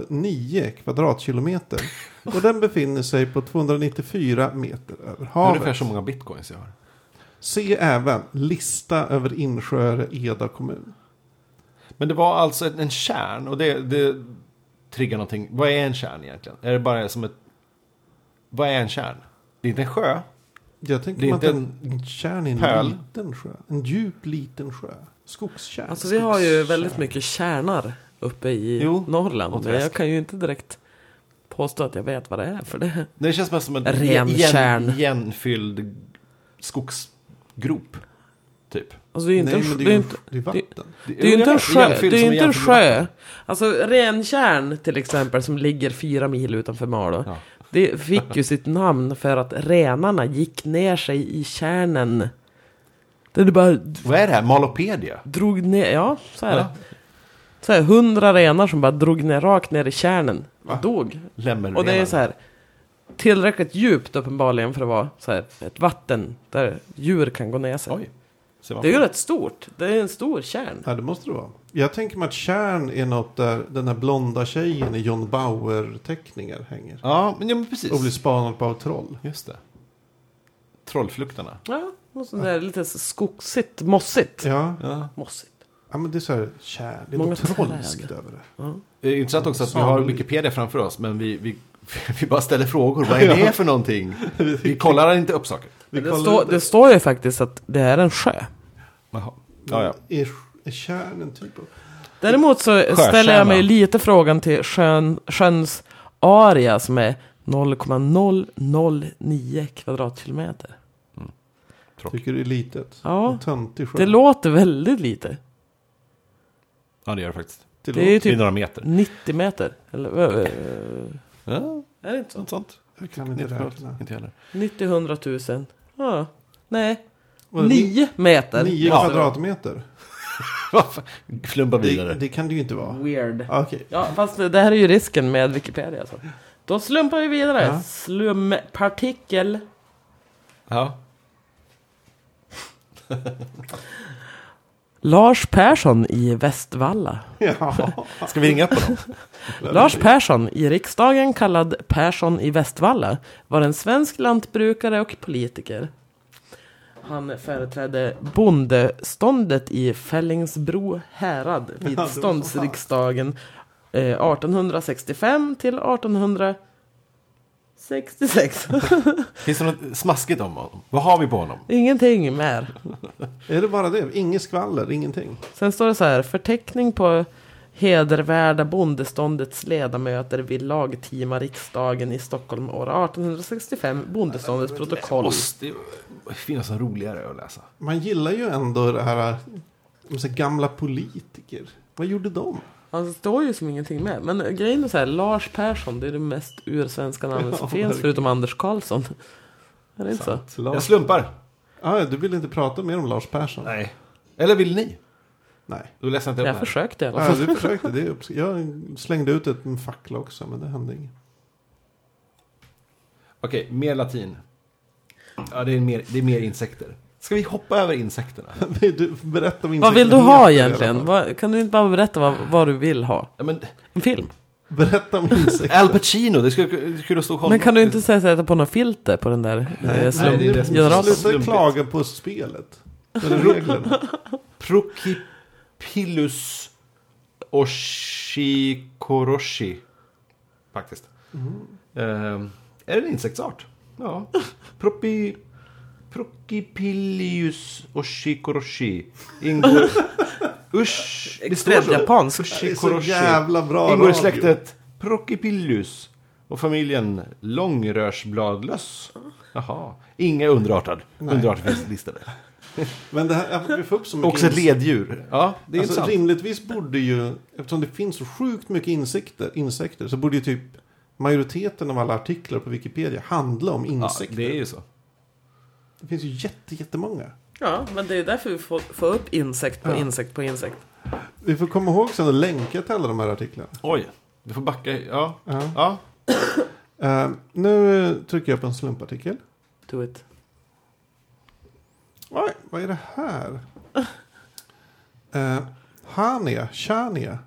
Speaker 2: 0,009 kvadratkilometer och den befinner sig på 294 meter över
Speaker 1: Ungefär
Speaker 2: havet.
Speaker 1: så många bitcoins jag har.
Speaker 2: Se även lista över insjöar i Eda kommun.
Speaker 1: Men det var alltså en, en kärn och det, det triggar någonting. Vad är en kärn egentligen? Är det bara som ett... Vad är en kärn? Det är inte en sjö.
Speaker 2: Jag tänker
Speaker 1: Det är
Speaker 2: mig att
Speaker 1: inte
Speaker 2: en, en tjärn är en
Speaker 1: pärl.
Speaker 2: liten sjö. En djup liten sjö. Skogstjärn.
Speaker 3: Alltså vi har ju väldigt mycket kärnar uppe i
Speaker 2: Jo, och
Speaker 3: Norrland. Men
Speaker 2: träsk.
Speaker 3: jag kan ju inte direkt påstå att jag vet vad det är för det.
Speaker 1: Det känns mest som en
Speaker 3: Ren kärn.
Speaker 1: igenfylld skogsgrop. Typ.
Speaker 3: Alltså det är ju inte,
Speaker 2: Nej,
Speaker 3: en,
Speaker 2: men
Speaker 3: sjö-
Speaker 2: det
Speaker 3: det
Speaker 2: är, ju-
Speaker 3: är ju inte,
Speaker 2: det är vatten.
Speaker 3: det är ju inte en sjö. Det
Speaker 1: Igenfylld
Speaker 3: är ju
Speaker 1: som
Speaker 3: inte en
Speaker 1: egentligen
Speaker 3: sjö. Alltså Rentjärn till exempel som ligger fyra mil utanför Malå.
Speaker 1: Ja.
Speaker 3: Det fick ju sitt namn för att renarna gick ner sig i kärnen. Där det bara
Speaker 1: Vad är det här? Malopedia?
Speaker 3: drog ner, ja så är det.
Speaker 1: Ja.
Speaker 3: Så här, hundra renar som bara drog ner rakt ner i kärnen.
Speaker 1: Va?
Speaker 3: Dog.
Speaker 1: Lämmerrenar.
Speaker 3: Och det är så här tillräckligt djupt uppenbarligen för att vara så här, ett vatten där djur kan gå ner sig.
Speaker 1: Oj. Ser man
Speaker 3: Det är ju rätt stort. Det är en stor kärn.
Speaker 2: Ja, det måste det vara. Jag tänker mig att kärn är något där den här blonda tjejen i John Bauer-teckningar hänger.
Speaker 1: Ja, men, ja, men precis.
Speaker 2: Och blir spanad på av troll.
Speaker 1: Just det. Trollfluktarna.
Speaker 3: Ja, något sånt där lite skogsigt, mossigt.
Speaker 2: Ja,
Speaker 1: Ja.
Speaker 3: Mossigt.
Speaker 2: ja men det är så här kärn. Det är
Speaker 3: Många
Speaker 2: något
Speaker 3: träd.
Speaker 2: trollskt över det.
Speaker 1: Det är intressant också att vi har Wikipedia framför oss, men vi, vi, vi bara ställer frågor. Vad
Speaker 2: Ja.
Speaker 1: är det för någonting? Vi kollar inte upp saker.
Speaker 2: Vi
Speaker 3: Det,
Speaker 2: kollar
Speaker 3: står-
Speaker 2: lite.
Speaker 3: det står ju faktiskt att det är en sjö.
Speaker 1: Jaha. Ja, ja.
Speaker 2: Är, är kärn en typ av...
Speaker 3: Däremot så ställer jag mig lite frågan till sjön, sjöns area som är 0,009 kvadratkilometer.
Speaker 2: Tycker det är litet.
Speaker 3: Ja.
Speaker 2: En töntig sjö.
Speaker 3: Det låter väldigt lite.
Speaker 1: Ja, det gör det faktiskt.
Speaker 2: Det
Speaker 3: Det är ju
Speaker 1: Det är
Speaker 3: typ
Speaker 1: några meter.
Speaker 3: 90 meter. Eller, eh,
Speaker 1: Ja,
Speaker 3: är det inte så?
Speaker 1: något sånt.
Speaker 2: Jag kan inte räkna.
Speaker 1: Inte heller.
Speaker 3: 90 100 000. Ja. Nej,
Speaker 2: Vad är det?
Speaker 3: 9 meter.
Speaker 2: Nio
Speaker 1: Ja.
Speaker 2: kvadratmeter.
Speaker 1: Vad fan? Flumpa
Speaker 2: Det,
Speaker 1: vidare.
Speaker 2: det kan det ju inte vara.
Speaker 3: Weird.
Speaker 2: Ah, Okej.
Speaker 3: Ja, fast det här är ju risken med Wikipedia. Alltså. Då slumpar vi vidare.
Speaker 2: Ja.
Speaker 3: Slumpartikel.
Speaker 1: Ja.
Speaker 3: Lars Persson i Västvalla.
Speaker 2: Ja.
Speaker 1: Ska vi ringa upp honom?
Speaker 3: Lars Persson, i riksdagen kallad Persson i Västvalla, var en svensk lantbrukare och politiker. Han företrädde bondeståndet i Fällingsbro härad vid
Speaker 2: Ja, det var så
Speaker 3: ståndsriksdagen eh, 1865 till 1866.
Speaker 1: Finns det något smaskigt om honom? Vad har vi på honom?
Speaker 3: Ingenting mer.
Speaker 2: Är det bara det? Inget skvaller, ingenting.
Speaker 3: Sen står det så här, förteckning på hedervärda bondeståndets ledamöter vid lagtima riksdagen i Stockholm år 1865, bondeståndets protokoll.
Speaker 1: Måste finnas något roligare att läsa.
Speaker 2: Man gillar ju ändå det här äh, så här gamla politiker. Vad gjorde de?
Speaker 3: Han Alltså, står ju som ingenting med. Men grejen är så här, Lars Persson, det är det mest ursvenska namnet som
Speaker 2: Ja,
Speaker 3: finns,
Speaker 2: verkligen.
Speaker 3: förutom Anders Karlsson. Är det inte så?
Speaker 1: Jag
Speaker 2: Lars...
Speaker 1: slumpar.
Speaker 2: Ah, ja, du vill inte prata mer om Lars Persson?
Speaker 1: Nej. Eller vill ni?
Speaker 2: Nej.
Speaker 1: Då läser jag inte upp
Speaker 3: Jag
Speaker 1: den här.
Speaker 3: försökte i alla
Speaker 2: Ah,
Speaker 3: fall.
Speaker 2: du försökte, det är uppsk- Jag slängde ut ett en fackla också, men det hände inget.
Speaker 1: Okej, mer latin. Ja, det är mer, det är mer insekter. Ska vi hoppa över insekterna?
Speaker 2: Du, berätta om
Speaker 3: Vad vill
Speaker 2: insekterna heter i alla
Speaker 3: du ha
Speaker 2: fall.
Speaker 3: egentligen? Vad- Kan du inte bara berätta vad, vad du vill ha?
Speaker 1: Ja, men,
Speaker 3: En film?
Speaker 2: Berätta om insekter.
Speaker 1: Al Pacino, det skulle det skulle stå honom.
Speaker 3: Men kan du inte säga så här, sätta på någon filter på den där eh,
Speaker 1: det
Speaker 2: Nej,
Speaker 1: är det som är
Speaker 3: slumgeneratorn?
Speaker 1: så
Speaker 2: Sluta
Speaker 1: slumpigt.
Speaker 2: klaga på spelet. Eller reglerna.
Speaker 1: Prokipilus oshikoroshi. Faktiskt.
Speaker 2: Mm.
Speaker 1: Ehm, är det en insektsart? Ja. Propi... Prokipilius oshikoroshi. Ingår... Usch, det står
Speaker 3: Extremt
Speaker 1: så.
Speaker 3: japanskt.
Speaker 2: Det är så
Speaker 1: Koroshi.
Speaker 2: jävla bra
Speaker 1: Ingår i
Speaker 2: radio.
Speaker 1: släktet Prokipillus och familjen Långrörsbladlöss. Jaha, inga underartad. Underarter finns listade.
Speaker 2: Men det här, vi får upp så mycket
Speaker 1: Också ett
Speaker 2: insekter.
Speaker 1: leddjur. Ja, det är
Speaker 2: alltså,
Speaker 1: intressant.
Speaker 2: rimligtvis borde ju, eftersom det finns så sjukt mycket insekter, insekter så borde ju typ majoriteten av alla artiklar på Wikipedia handla om
Speaker 1: Ja,
Speaker 2: insekter.
Speaker 1: det är ju så.
Speaker 2: det finns ju jätte, jättemånga.
Speaker 3: Ja, men det är därför vi får, får upp insekt på insekt på insekt.
Speaker 2: Vi får komma ihåg sen att länka till alla de här artiklarna.
Speaker 1: Oj, du får backa. Ja,
Speaker 2: Ja.
Speaker 1: ja.
Speaker 2: Eh, nu eh, trycker jag på en slumpartikel.
Speaker 3: Do it.
Speaker 2: Oj, vad är det här? Uh, Hania, Chania.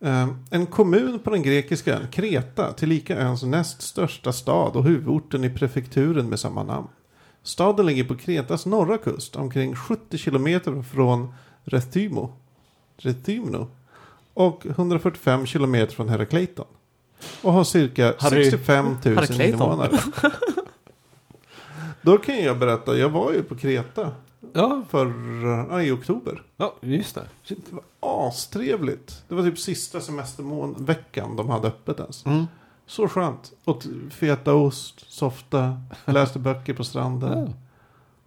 Speaker 2: Eh, en kommun på den grekiska ön Kreta, tillika öns näst största stad och huvudorten i prefekturen med samma namn. Staden ligger på Kretas norra kust, omkring 70 kilometer från Rethymno, Rethymno och 145 kilometer från Herakleiton. Och har cirka
Speaker 1: Harry-
Speaker 2: 65 000
Speaker 3: Herakleiton.
Speaker 2: invånare. Då kan jag berätta, jag var ju på Kreta
Speaker 1: Ja,
Speaker 2: för, ja, i oktober.
Speaker 1: ja just det. Shit.
Speaker 2: Det var astrevligt. Det var typ sista semesterveckan de hade öppet ens.
Speaker 1: Mm.
Speaker 2: Så skönt. Åt fetaost, softa, läste böcker på stranden,
Speaker 1: Ja.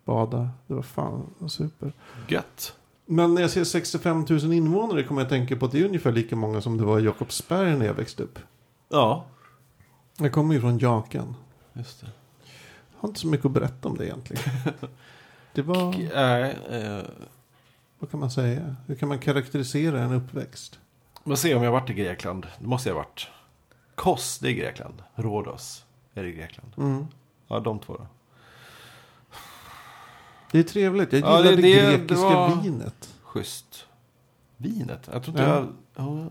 Speaker 2: bada. Det var fan super.
Speaker 1: Gött.
Speaker 2: Men när jag ser 65 000 invånare kommer jag att tänka på att det är ungefär lika många som det var i Jakobsberg när jag växte upp.
Speaker 1: Ja,
Speaker 2: Jag kommer ju från Jakan.
Speaker 1: just det.
Speaker 2: Har inte så mycket att berätta om det egentligen. Det
Speaker 1: Och,
Speaker 2: var,
Speaker 1: eh, eh,
Speaker 2: vad kan man säga? Hur kan man karaktärisera en uppväxt?
Speaker 1: Men se om jag har varit i Grekland. Det måste jag ha varit. Kos, det är Grekland. Rhodos, är det Grekland.
Speaker 2: Mm.
Speaker 1: Ja, de två då.
Speaker 2: Det är trevligt. Jag
Speaker 1: Ja,
Speaker 2: gillar
Speaker 1: det-
Speaker 2: det,
Speaker 1: det- det
Speaker 2: grekiska
Speaker 1: var-
Speaker 2: vinet.
Speaker 1: Schysst. Vinet. Jag tror inte
Speaker 2: Ja.
Speaker 1: jag... Ja,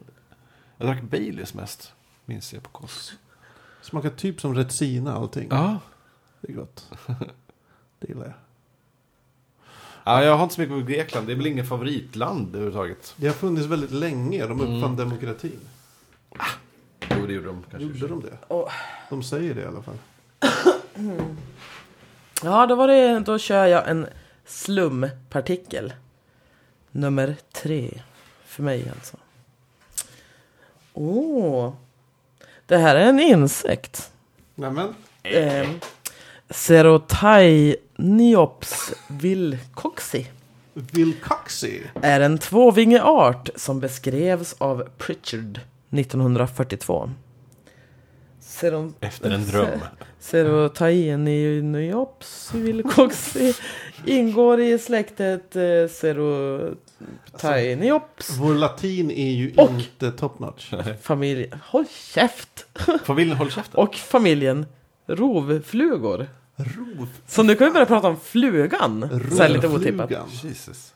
Speaker 1: jag drack Baileys mest. Minns jag på Kos.
Speaker 2: Smakar typ som Retsina allting.
Speaker 1: Ja.
Speaker 2: Det är gott. Det gillar jag.
Speaker 1: ja. Jag har inte så mycket på Grekland. Det är väl ingen favoritland överhuvudtaget.
Speaker 2: Det har funnits väldigt länge. De uppfann
Speaker 1: Mm.
Speaker 2: demokratin.
Speaker 1: Jo, det gjorde de kanske.
Speaker 2: Gjorde de det?
Speaker 3: Åh.
Speaker 2: De säger det i alla fall.
Speaker 3: Ja, då var det, då kör jag en slumpartikel. Nummer tre. För mig alltså. Åh. Det här är en insekt.
Speaker 2: Nämen.
Speaker 3: Eh, Cerotyniops vilcoxi.
Speaker 2: Vilcoxy.
Speaker 3: är en tvåvingeart som beskrevs av Pritchard 1942. Seron...
Speaker 1: Efter en dröm.
Speaker 3: Serotainiops vilcoxi ingår i släktet eh, Serotainiops
Speaker 2: Vår latin är ju
Speaker 3: Och-
Speaker 2: inte top notch.
Speaker 3: familj... Håll käft!
Speaker 1: Familjen håll käften.
Speaker 3: Och familjen rovflugor.
Speaker 2: Rov.
Speaker 3: Så nu kan vi börja prata om flugan. Så här lite otippat.
Speaker 2: Rovflugan.
Speaker 1: Jesus.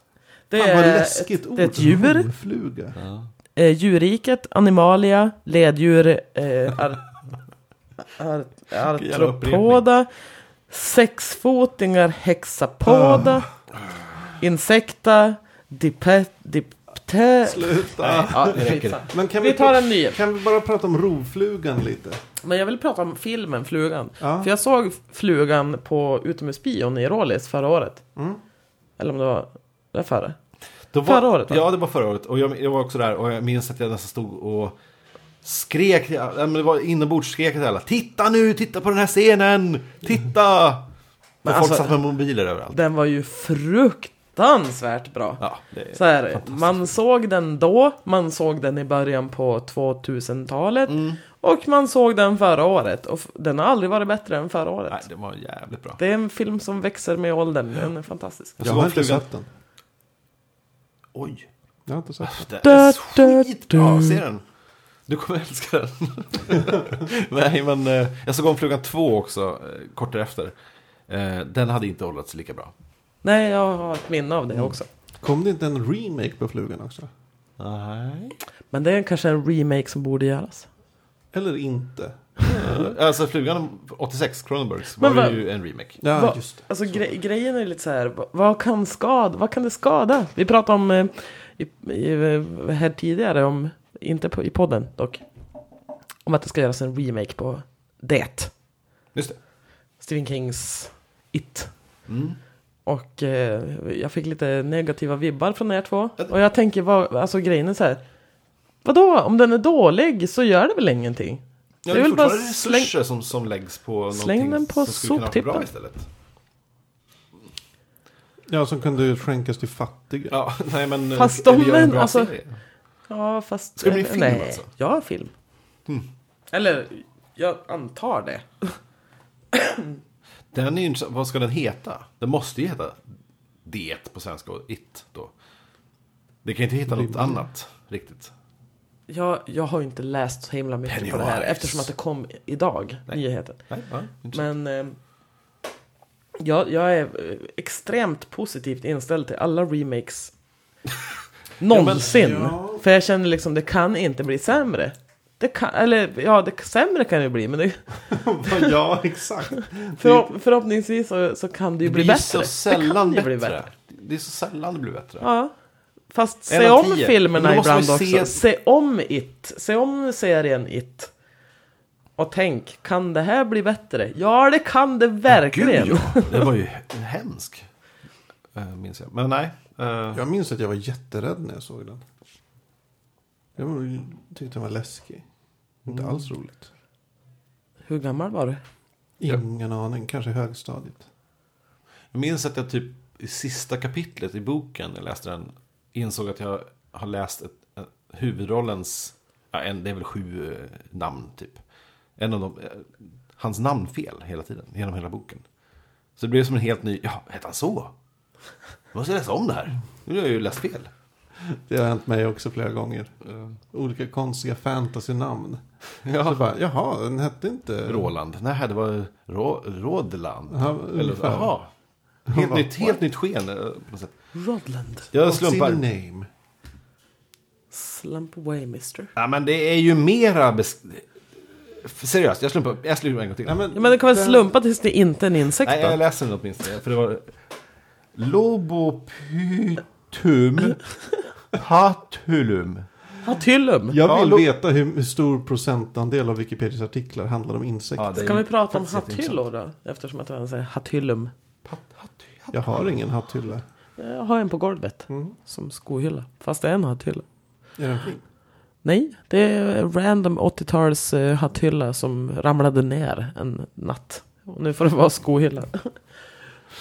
Speaker 3: Det
Speaker 2: Fan vad
Speaker 3: är
Speaker 2: läskigt
Speaker 3: ett,
Speaker 2: ord.
Speaker 3: det är ett djur.
Speaker 2: Rovfluga.
Speaker 1: Ja.
Speaker 3: eh, djurriket, animalia, leddjur, eh, ar, ar, artropoda, sexfotingar, hexapoda,
Speaker 2: Ah.
Speaker 3: insekta, dipe, dipte...
Speaker 2: Sluta.
Speaker 3: Ja,
Speaker 1: det räcker.
Speaker 3: skitsamma.
Speaker 2: Men kan
Speaker 3: Vi tar en ny.
Speaker 2: Kan vi bara prata om rovflugan lite?
Speaker 3: Men jag vill prata om filmen Flugan.
Speaker 2: Ja.
Speaker 3: För jag såg Flugan på utomhusbion i Rålis förra året.
Speaker 2: Mm.
Speaker 3: Eller om det var där förra.
Speaker 1: Då var,
Speaker 3: Förra året, va?
Speaker 1: Ja, det var förra året. Och jag, jag var också där och jag minns att jag nästan stod och skrek. Ja, men det var inombordsskreket till alla. Titta nu, titta på den här scenen! Titta! Men
Speaker 3: Men
Speaker 1: folk
Speaker 3: alltså-
Speaker 1: satt med mobiler överallt.
Speaker 3: Den var ju fruktansvärt bra.
Speaker 1: Ja, det,
Speaker 3: Så här, man såg den då, man såg den i början på 2000-talet och man såg den förra året. Och f- den har aldrig varit bättre än förra året.
Speaker 1: nej, det var jävligt bra.
Speaker 3: Det är en film som växer med åldern, den är fantastisk.
Speaker 1: Ja.
Speaker 2: Jag
Speaker 1: var
Speaker 2: har inte
Speaker 1: flugan-
Speaker 2: sett den.
Speaker 1: Oj.
Speaker 2: Jag har inte sett den.
Speaker 1: Det
Speaker 3: Da,
Speaker 1: är
Speaker 3: da,
Speaker 1: skitbra,
Speaker 3: da.
Speaker 1: se den. Du kommer älska den. nej, men eh, jag såg om Flugan 2 också, eh, kort därefter. Eh, Den hade inte hållit sig lika bra.
Speaker 3: Nej, jag har ett minne av det också.
Speaker 2: Kom det inte en remake på flugan också?
Speaker 1: Nej.
Speaker 3: Men det är kanske en remake som borde göras.
Speaker 2: Eller inte?
Speaker 1: Eh, Alltså Flugan 86, Cronenbergs,
Speaker 3: Men
Speaker 1: var
Speaker 3: vad-
Speaker 1: ju en remake.
Speaker 2: Ja,
Speaker 3: Vad-
Speaker 2: just det.
Speaker 3: Alltså gre- grejen är lite så här, vad, vad kan skada, vad kan det skada? Vi pratade om, eh, i, i, här tidigare, om, inte på, i podden dock, om att det ska göras en remake på det.
Speaker 1: Just det.
Speaker 3: Stephen Kings It.
Speaker 1: Mm.
Speaker 3: Och eh, jag fick lite negativa vibbar från er två. Och jag tänker, vad, alltså grejen är så här. Vadå, om den är dålig så gör det väl ingenting?
Speaker 1: Ja, det
Speaker 3: Det är
Speaker 1: är
Speaker 3: väl bara
Speaker 1: fortfarande resurser som, som läggs på
Speaker 3: Släng
Speaker 1: någonting
Speaker 3: den på
Speaker 1: som skulle kunna vara
Speaker 3: soptippen.
Speaker 1: bra istället.
Speaker 2: Ja, som kunde skänkas till fattiga.
Speaker 1: Ja, nej men... eh,
Speaker 3: Fast
Speaker 1: eller
Speaker 3: de-
Speaker 1: gör en
Speaker 3: men
Speaker 1: bra
Speaker 3: alltså-
Speaker 1: serie.
Speaker 3: Ja, fast... eh,
Speaker 1: Ska det bli film
Speaker 3: nej.
Speaker 1: alltså? Mm.
Speaker 3: Ja, film. Eller, jag antar det.
Speaker 1: Den är ju inte, så- vad ska den heta? Den måste ju heta Det på svenska och It då. Det kan ju inte heta något annat riktigt.
Speaker 3: Jag, jag har ju inte läst så himla mycket på det här
Speaker 1: Pennywise.
Speaker 3: eftersom att det kom i- idag, nyheten.
Speaker 1: Nej, ja, inte
Speaker 3: Men eh, jag, jag är eh, extremt positivt inställd till alla remakes någonsin.
Speaker 2: ja.
Speaker 3: För jag känner liksom, det kan inte bli sämre. Det kan, eller ja, det, sämre kan det bli, men det,
Speaker 2: ja, exakt.
Speaker 3: förhopp, förhoppningsvis så, så kan det ju
Speaker 1: det
Speaker 3: bli
Speaker 1: blir
Speaker 3: bättre.
Speaker 1: så sällan
Speaker 3: det kan ju
Speaker 1: bättre.
Speaker 3: bli bättre.
Speaker 1: Det är så sällan det blir bättre.
Speaker 3: Ja. Fast
Speaker 1: En
Speaker 3: se
Speaker 1: av
Speaker 3: om
Speaker 1: tio. Men
Speaker 3: filmerna
Speaker 1: då måste
Speaker 3: ibland
Speaker 1: man ju
Speaker 3: också.
Speaker 1: se-
Speaker 3: Se om It. Se om serien It. Och tänk, kan det här bli bättre? Ja, det kan det verkligen.
Speaker 1: Gud, ja. Det var ju hemsk. Eh, Minns jag. Men nej. eh,
Speaker 2: Jag minns att jag var jätterädd när jag såg den. Jag var- tyckte den var läskig. Inte alls
Speaker 3: Mm.
Speaker 2: roligt.
Speaker 3: Hur gammal var du?
Speaker 2: Ingen aning, kanske högstadiet.
Speaker 1: Jag minns att jag typ i sista kapitlet i boken, jag läste den, insåg att jag har läst ett, ett, huvudrollens, ja, en, det är väl sju eh, namn typ. En av dem, eh, hans namnfel hela tiden, genom hela boken. Så det blev som en helt ny, ja, hette han så? Jag måste läsa om det här. Nu har jag ju läst fel.
Speaker 2: Det har hänt mig också flera gånger. Olika konstiga fantasynamn. Ja. Så bara, jaha, den hette inte...
Speaker 1: Roland, nej det var Rå, Rådeland.
Speaker 2: Ja,
Speaker 1: Eller,
Speaker 2: ungefär.
Speaker 1: jaha. Helt nytt, helt nytt sken. eh, På något sätt.
Speaker 3: Rodland.
Speaker 1: Jag
Speaker 2: What's in
Speaker 1: slumpar.
Speaker 2: a name?
Speaker 3: Slump away mister.
Speaker 1: Ja, men det är ju mera... Bes... Seriöst, jag slumpar. Jag slumpar en gång till. Nej,
Speaker 3: Ja, men det kan väl slumpa tills det inte är en insekt
Speaker 1: Nej, jag
Speaker 3: då?
Speaker 1: läser den åtminstone. För det var... Lobopytum patulum.
Speaker 3: Hatylum.
Speaker 2: Jag vill
Speaker 1: Ja, lo-
Speaker 2: veta hur, hur stor procentandel av Wikipedias artiklar handlar om insekter.
Speaker 1: Ja, det är
Speaker 3: Kan vi prata om
Speaker 1: faktiskt inte
Speaker 3: hatyllor då? Eftersom att han säger hatyllum.
Speaker 2: Jag har ingen hatthylla.
Speaker 3: Jag har en på golvet.
Speaker 1: Mm.
Speaker 3: Som skohylla. Fast det är en hatylla.
Speaker 2: Är den fin?
Speaker 3: Nej, det är random 80-tals eh, hatthylla som ramlade ner en natt. Och nu får det vara skohylla.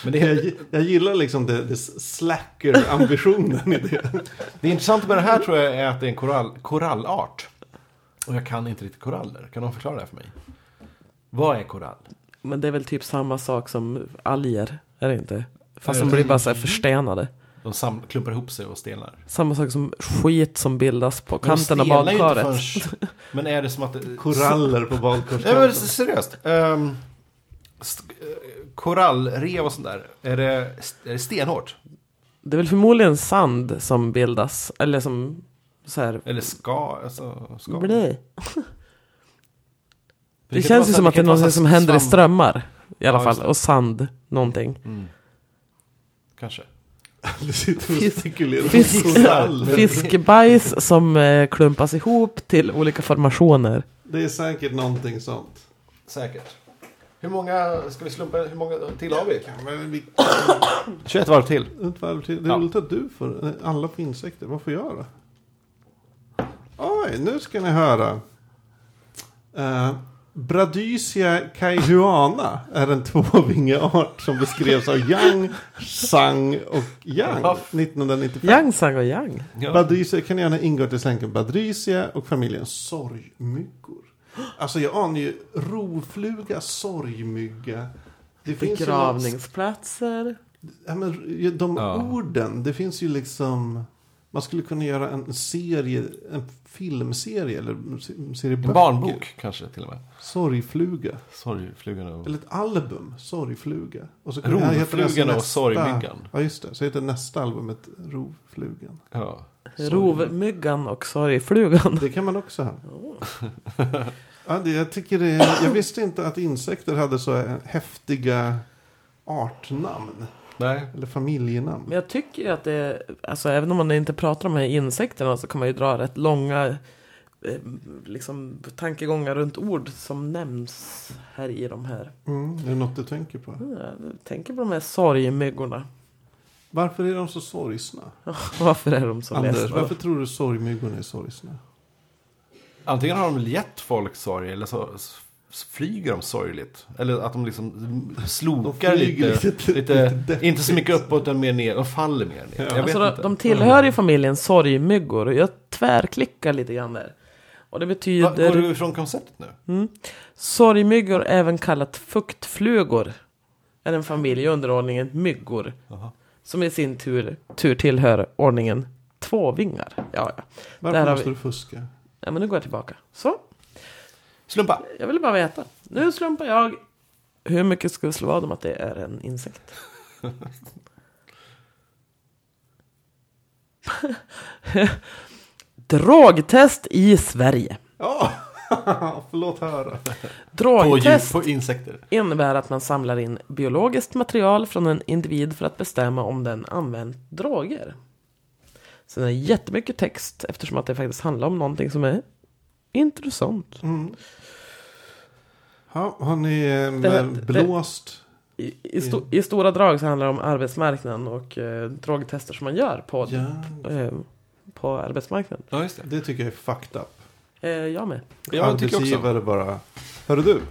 Speaker 1: Men det, är,
Speaker 2: Jag, jag gillar liksom det, det slacker-ambitionen i det.
Speaker 1: det intressanta med det här tror jag är att det är en korall, korallart. Och jag kan inte riktigt koraller. Kan någon förklara det här för mig? Vad är korall?
Speaker 3: Men det är väl typ samma sak som alger, är det inte? Fast de
Speaker 1: Eh,
Speaker 3: blir bara så här förstenade.
Speaker 1: De sam, klumpar ihop sig och stelnar.
Speaker 3: Samma sak som skit som bildas på
Speaker 1: Men de
Speaker 3: kanten av
Speaker 1: stelnar ju inte
Speaker 3: badkaret.
Speaker 1: förrän- Men är det som att... det-
Speaker 2: Koraller på
Speaker 1: Nej, men
Speaker 2: badkarskanten.
Speaker 1: seriöst. Um, st- eh, korallrev och sånt där. Är det, är det stenhårt?
Speaker 3: Det är väl förmodligen sand som bildas, eller som så här...
Speaker 1: Eller ska? Alltså, ska?
Speaker 3: Blä.
Speaker 1: För
Speaker 3: Det
Speaker 1: kan
Speaker 3: känns
Speaker 1: vara
Speaker 3: ju
Speaker 1: så-
Speaker 3: som
Speaker 1: det
Speaker 3: att det är
Speaker 1: kan vara
Speaker 3: något
Speaker 1: så
Speaker 3: som
Speaker 1: här
Speaker 3: händer i
Speaker 1: svamp,
Speaker 3: strömmar. I alla
Speaker 1: Ja,
Speaker 3: fall,
Speaker 1: just det.
Speaker 3: och sand, någonting.
Speaker 1: Kanske.
Speaker 2: Du sitter och
Speaker 3: Fisk-
Speaker 2: spekulerar.
Speaker 3: Fisk,
Speaker 2: Koraller.
Speaker 3: fiskbajs som eh, klumpas ihop till olika formationer.
Speaker 2: Det är säkert någonting sånt.
Speaker 1: Säkert. Hur många, ska vi slumpa, hur många till har vi?
Speaker 2: Ja, men vi-
Speaker 1: 21 varv till.
Speaker 2: Ett varv till. Det är
Speaker 1: Ja.
Speaker 2: roligt att du får. Alla får insekter. Vad får jag då? Oj, nu ska ni höra. Eh, Bradysia caihuana är en tvåvingeart som beskrevs av Yang, Sang och Yang
Speaker 1: Ja.
Speaker 2: 1995.
Speaker 3: Yang sang och yang.
Speaker 1: Ja.
Speaker 2: Badrysia kan gärna ingå till släkten Badrysia och familjen sorgmyggor. Alltså jag anar ju rovfluga, sorgmygga. Det finns ju något-
Speaker 3: Begravningsplatser.
Speaker 2: Ja, men de
Speaker 1: Ja.
Speaker 2: orden, det finns ju liksom... Man skulle kunna göra en serie, en filmserie eller en serie
Speaker 1: En
Speaker 2: böcker.
Speaker 1: barnbok kanske till och med.
Speaker 2: Sorgfluga.
Speaker 1: Sorgflugan och...
Speaker 2: Eller ett album, Sorgfluga. Och så kunde- heter det
Speaker 1: Rovflugan och
Speaker 2: nästa-
Speaker 1: sorgmyggan.
Speaker 2: Ja, just det. Så heter nästa albumet Rovflugan.
Speaker 1: Ja.
Speaker 3: Rovmyggan och sorgflugan.
Speaker 2: Det kan man också ha. Ja, det, jag, tycker det, jag visste inte att insekter hade så häftiga artnamn.
Speaker 1: Nej.
Speaker 2: Eller familjenamn.
Speaker 3: Men jag tycker ju att det, alltså även om man inte pratar om de här insekterna så kan man ju dra rätt långa eh, liksom, tankegångar runt ord som nämns här i de här.
Speaker 2: Mm, är det något du tänker på?
Speaker 3: Jag tänker på de här sorgmyggorna.
Speaker 2: Varför är de så sorgsna?
Speaker 3: Varför är de så
Speaker 2: Anders,
Speaker 3: ledsna?
Speaker 2: varför tror du sorgmyggorna är sorgsna?
Speaker 1: Antingen har de väl gett folk sorg eller så s- flyger de sorgligt. Eller att de liksom slokar
Speaker 2: De flyger
Speaker 1: lite.
Speaker 2: lite-
Speaker 1: lite,
Speaker 2: lite deppigt.
Speaker 1: inte så mycket uppåt utan mer ner. De faller mer ner. Jag vet
Speaker 3: Alltså, de,
Speaker 1: inte.
Speaker 3: de tillhör ju familjen sorgmyggor och jag tvärklickar lite grann där. Och det
Speaker 1: Va,
Speaker 3: betyder...
Speaker 1: går du ifrån konceptet nu?
Speaker 3: Sorgmyggor, även kallat fuktflugor, är en familj i underordningen myggor.
Speaker 1: Jaha.
Speaker 3: Som i sin tur, tur tillhör ordningen tvåvingar. Ja, ja. Där
Speaker 2: Varför
Speaker 3: har
Speaker 2: måste du
Speaker 3: vi.
Speaker 2: fuska?
Speaker 3: ja, men nu går jag tillbaka. Så,
Speaker 1: Slumpa!
Speaker 3: jag ville bara veta. Nu slumpar jag. Hur mycket skulle jag slå vad om att det är en insekt? Drogtest i Sverige.
Speaker 2: Ja, förlåt höra.
Speaker 1: På, djur,
Speaker 3: Drogtest.
Speaker 1: på insekter.
Speaker 3: innebär att man samlar in biologiskt material från en individ för att bestämma om den använt droger. Sen är det jättemycket
Speaker 1: Mm.
Speaker 3: text eftersom att det faktiskt handlar om någonting som är intressant.
Speaker 2: Ha, har ni eh,
Speaker 3: Det här- det-
Speaker 2: blåst?
Speaker 3: I, i, sto, I stora drag så handlar det om arbetsmarknaden och eh, drogtester som man gör på,
Speaker 2: Ja,
Speaker 3: eh, på arbetsmarknaden.
Speaker 1: Ja, just det.
Speaker 2: det tycker jag är fucked up.
Speaker 3: Eh, jag med.
Speaker 1: Jag tycker också.
Speaker 2: Arbetsgivare bara. Hörru du.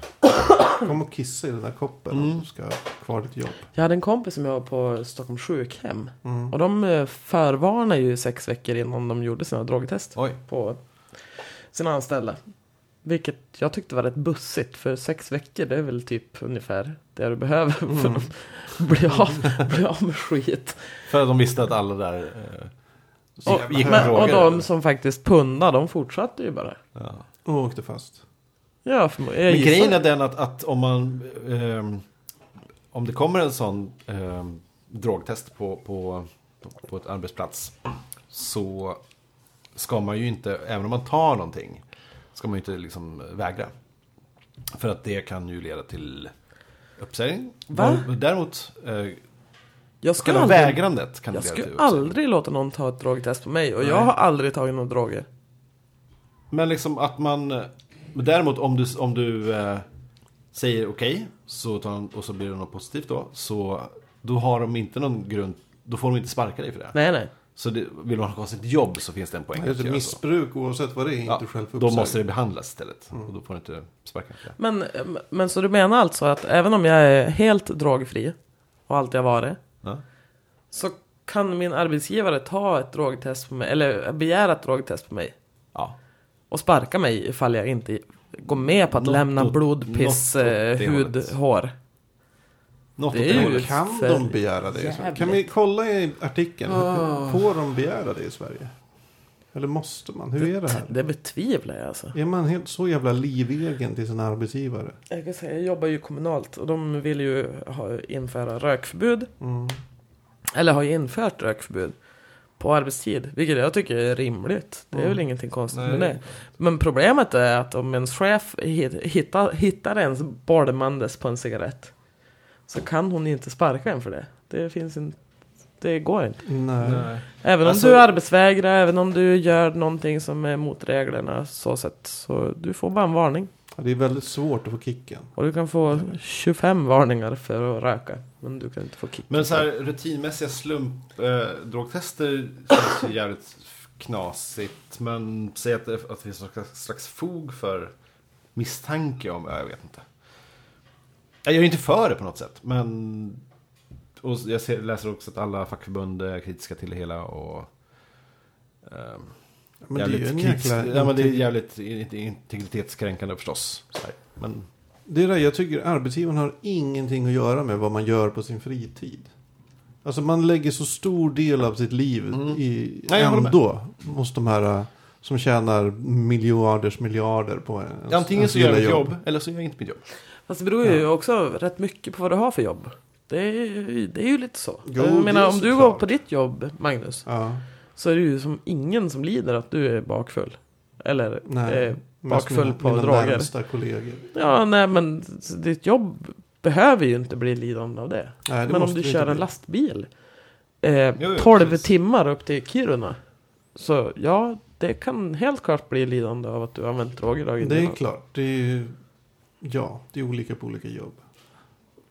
Speaker 2: Kom och kissa i den där koppen om
Speaker 1: Mm.
Speaker 2: du ska ha kvar ditt jobb.
Speaker 3: Jag hade en kompis som jag var på Stockholms sjukhem.
Speaker 2: Mm.
Speaker 3: Och de eh, förvarnade ju sex veckor innan de gjorde sina drogtest
Speaker 1: Oj.
Speaker 3: på sina anställda. Vilket jag tyckte var rätt bussigt. För sex veckor det är väl typ ungefär det du behöver för
Speaker 1: Mm.
Speaker 3: att bli av, bli av med skit.
Speaker 1: För att de visste att alla där... Eh,
Speaker 2: Så
Speaker 3: Och,
Speaker 2: jävla
Speaker 1: gick
Speaker 3: men,
Speaker 1: droger,
Speaker 3: och de
Speaker 1: eller?
Speaker 3: som faktiskt pundade, de fortsatte ju bara.
Speaker 1: ja.
Speaker 2: Och åkte fast.
Speaker 3: Ja, förmodligen. Jag
Speaker 1: Men
Speaker 3: gissar.
Speaker 1: grejen är den att, att om man... ehm, om det kommer en sån ehm, drogtest på, på, på ett arbetsplats. Så ska man ju inte, även om man tar någonting. Ska man ju inte liksom vägra. För att det kan ju leda till uppsägning.
Speaker 3: Va?
Speaker 1: Däremot, eh,
Speaker 3: jag skulle
Speaker 1: själva
Speaker 3: aldrig,
Speaker 1: vägrandet kan
Speaker 3: jag
Speaker 1: det leda till
Speaker 3: skulle
Speaker 1: uppsägning.
Speaker 3: aldrig låta någon ta ett drogtest på mig. Och jag
Speaker 1: Nej.
Speaker 3: har aldrig tagit några droger.
Speaker 1: Men liksom att man... Men däremot om du, om du eh, säger okej så tar de, och så blir det något positivt då. Så då har de inte någon grund. Då får de inte sparka dig för det.
Speaker 3: Nej, nej.
Speaker 1: Så det, vill man ha kvar sitt jobb så finns det en poäng.
Speaker 2: Det är
Speaker 1: att
Speaker 2: ett
Speaker 1: göra så.
Speaker 2: missbruk oavsett vad det är.
Speaker 1: Ja,
Speaker 2: inte själv
Speaker 1: då måste det behandlas istället. Och då får du inte sparka. För det.
Speaker 3: Men, men så du menar alltså att även om jag är helt drogfri och alltid har varit
Speaker 1: Ja.
Speaker 3: så kan min arbetsgivare ta ett drogtest på mig eller begära ett drogtest på mig
Speaker 1: Ja.
Speaker 3: och sparka mig ifall jag inte går med på att
Speaker 1: Något
Speaker 3: lämna
Speaker 1: åt-
Speaker 3: blod, piss,
Speaker 1: något åt
Speaker 3: eh,
Speaker 1: det
Speaker 3: hud,
Speaker 1: hållet.
Speaker 3: hår.
Speaker 1: Något
Speaker 3: Det är
Speaker 1: åt det
Speaker 3: ju-
Speaker 1: hållet.
Speaker 2: Kan
Speaker 3: för
Speaker 2: de begära det? i Sverige? Kan vi kolla i artikeln?
Speaker 1: Ah.
Speaker 2: Får de begära det i Sverige? Eller måste man? Hur är det här?
Speaker 3: Det betvivlar jag alltså.
Speaker 2: Är man helt så jävla livegen till sin arbetsgivare?
Speaker 3: Jag, kan säga, jag jobbar ju kommunalt och de vill ju ha, införa rökförbud.
Speaker 2: Mm.
Speaker 3: Eller har ju infört rökförbud på arbetstid, vilket jag tycker är rimligt. Det är
Speaker 2: Mm.
Speaker 3: väl ingenting konstigt
Speaker 1: Nej,
Speaker 3: med
Speaker 1: det är
Speaker 3: det. Men problemet är att om ens chef hit- hittar, hittar ens bolmandes på en cigarett så kan hon inte sparka en för det. Det finns inte. Det går inte.
Speaker 2: Nej.
Speaker 1: Nej.
Speaker 3: Även om
Speaker 1: Alltså-
Speaker 3: du arbetsvägrar, även om du gör någonting som är mot reglerna så sett. Så du får bara en varning.
Speaker 2: Ja, Det är väldigt svårt att få kicken.
Speaker 3: Och du kan få 25 varningar för att röka. Men du kan inte få kick.
Speaker 1: Men så här rutinmässiga slumpdrogtester eh, drogtester känns ju jävligt knasigt. Men säg att, det- att det finns någon slags- slags fog för misstanke om, ja, jag vet inte. Jag är ju inte för det på något sätt, men... Och jag ser, läser också att alla fackförbund är kritiska till det hela och... ehm,
Speaker 2: Men
Speaker 1: jävligt
Speaker 2: det är ju en
Speaker 1: kritisk-
Speaker 2: jäkla...
Speaker 1: ja, men det är jävligt in- integritetskränkande förstås. Så här. Men
Speaker 2: Det är det jag tycker arbetsgivaren har ingenting att göra med vad man gör på sin fritid. Alltså man lägger så stor del av sitt liv
Speaker 1: Mm.
Speaker 2: i,
Speaker 1: Nej, jag håller med.
Speaker 2: ändå hos de här äh, som tjänar miljarders miljarder på en,
Speaker 1: antingen
Speaker 2: ens
Speaker 1: så gör jag
Speaker 2: lilla
Speaker 1: mitt jobb, eller så gör jag inte mitt jobb.
Speaker 3: Fast det beror ju också rätt mycket på vad du har för jobb. Det är, ju- det är ju lite så.
Speaker 2: Jo, det
Speaker 3: jag menar
Speaker 2: är
Speaker 3: om du
Speaker 2: såklart.
Speaker 3: går på ditt jobb, Magnus.
Speaker 2: Ja,
Speaker 3: så är det ju som ingen som lider att du är bakfull. Eller,
Speaker 2: nej.
Speaker 3: Eh,
Speaker 2: Men jag ska
Speaker 3: bakfull
Speaker 2: mina-
Speaker 3: på
Speaker 2: mina
Speaker 3: droger.
Speaker 2: närmsta kollegor.
Speaker 3: ja, nej men s- ditt jobb behöver ju inte bli lidande av det.
Speaker 2: Nej, det
Speaker 3: men om
Speaker 2: måste
Speaker 3: du
Speaker 2: det
Speaker 3: kör
Speaker 2: inte
Speaker 3: en
Speaker 2: bli.
Speaker 3: lastbil eh,
Speaker 1: Jo, jo,
Speaker 3: 12
Speaker 1: precis.
Speaker 3: timmar upp till Kiruna. Så ja, det kan helt klart bli lidande av att du har använt droger dagen
Speaker 2: Det är
Speaker 3: innan.
Speaker 2: klart. Det är ju, ja, det är olika på olika jobb.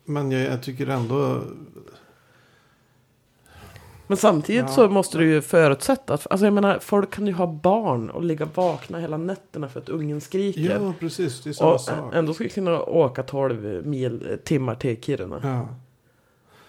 Speaker 2: Men jag, jag tycker ändå...
Speaker 3: Men samtidigt
Speaker 2: Ja.
Speaker 3: så måste du ju förutsätta att, alltså jag menar, folk kan ju ha barn och ligga vakna hela nätterna för att ungen skriker.
Speaker 2: Ja, precis. Det är samma
Speaker 3: och eh,
Speaker 2: sak.
Speaker 3: ändå ska du kunna åka 12 mil, eh, timmar till Kiruna.
Speaker 2: Ja.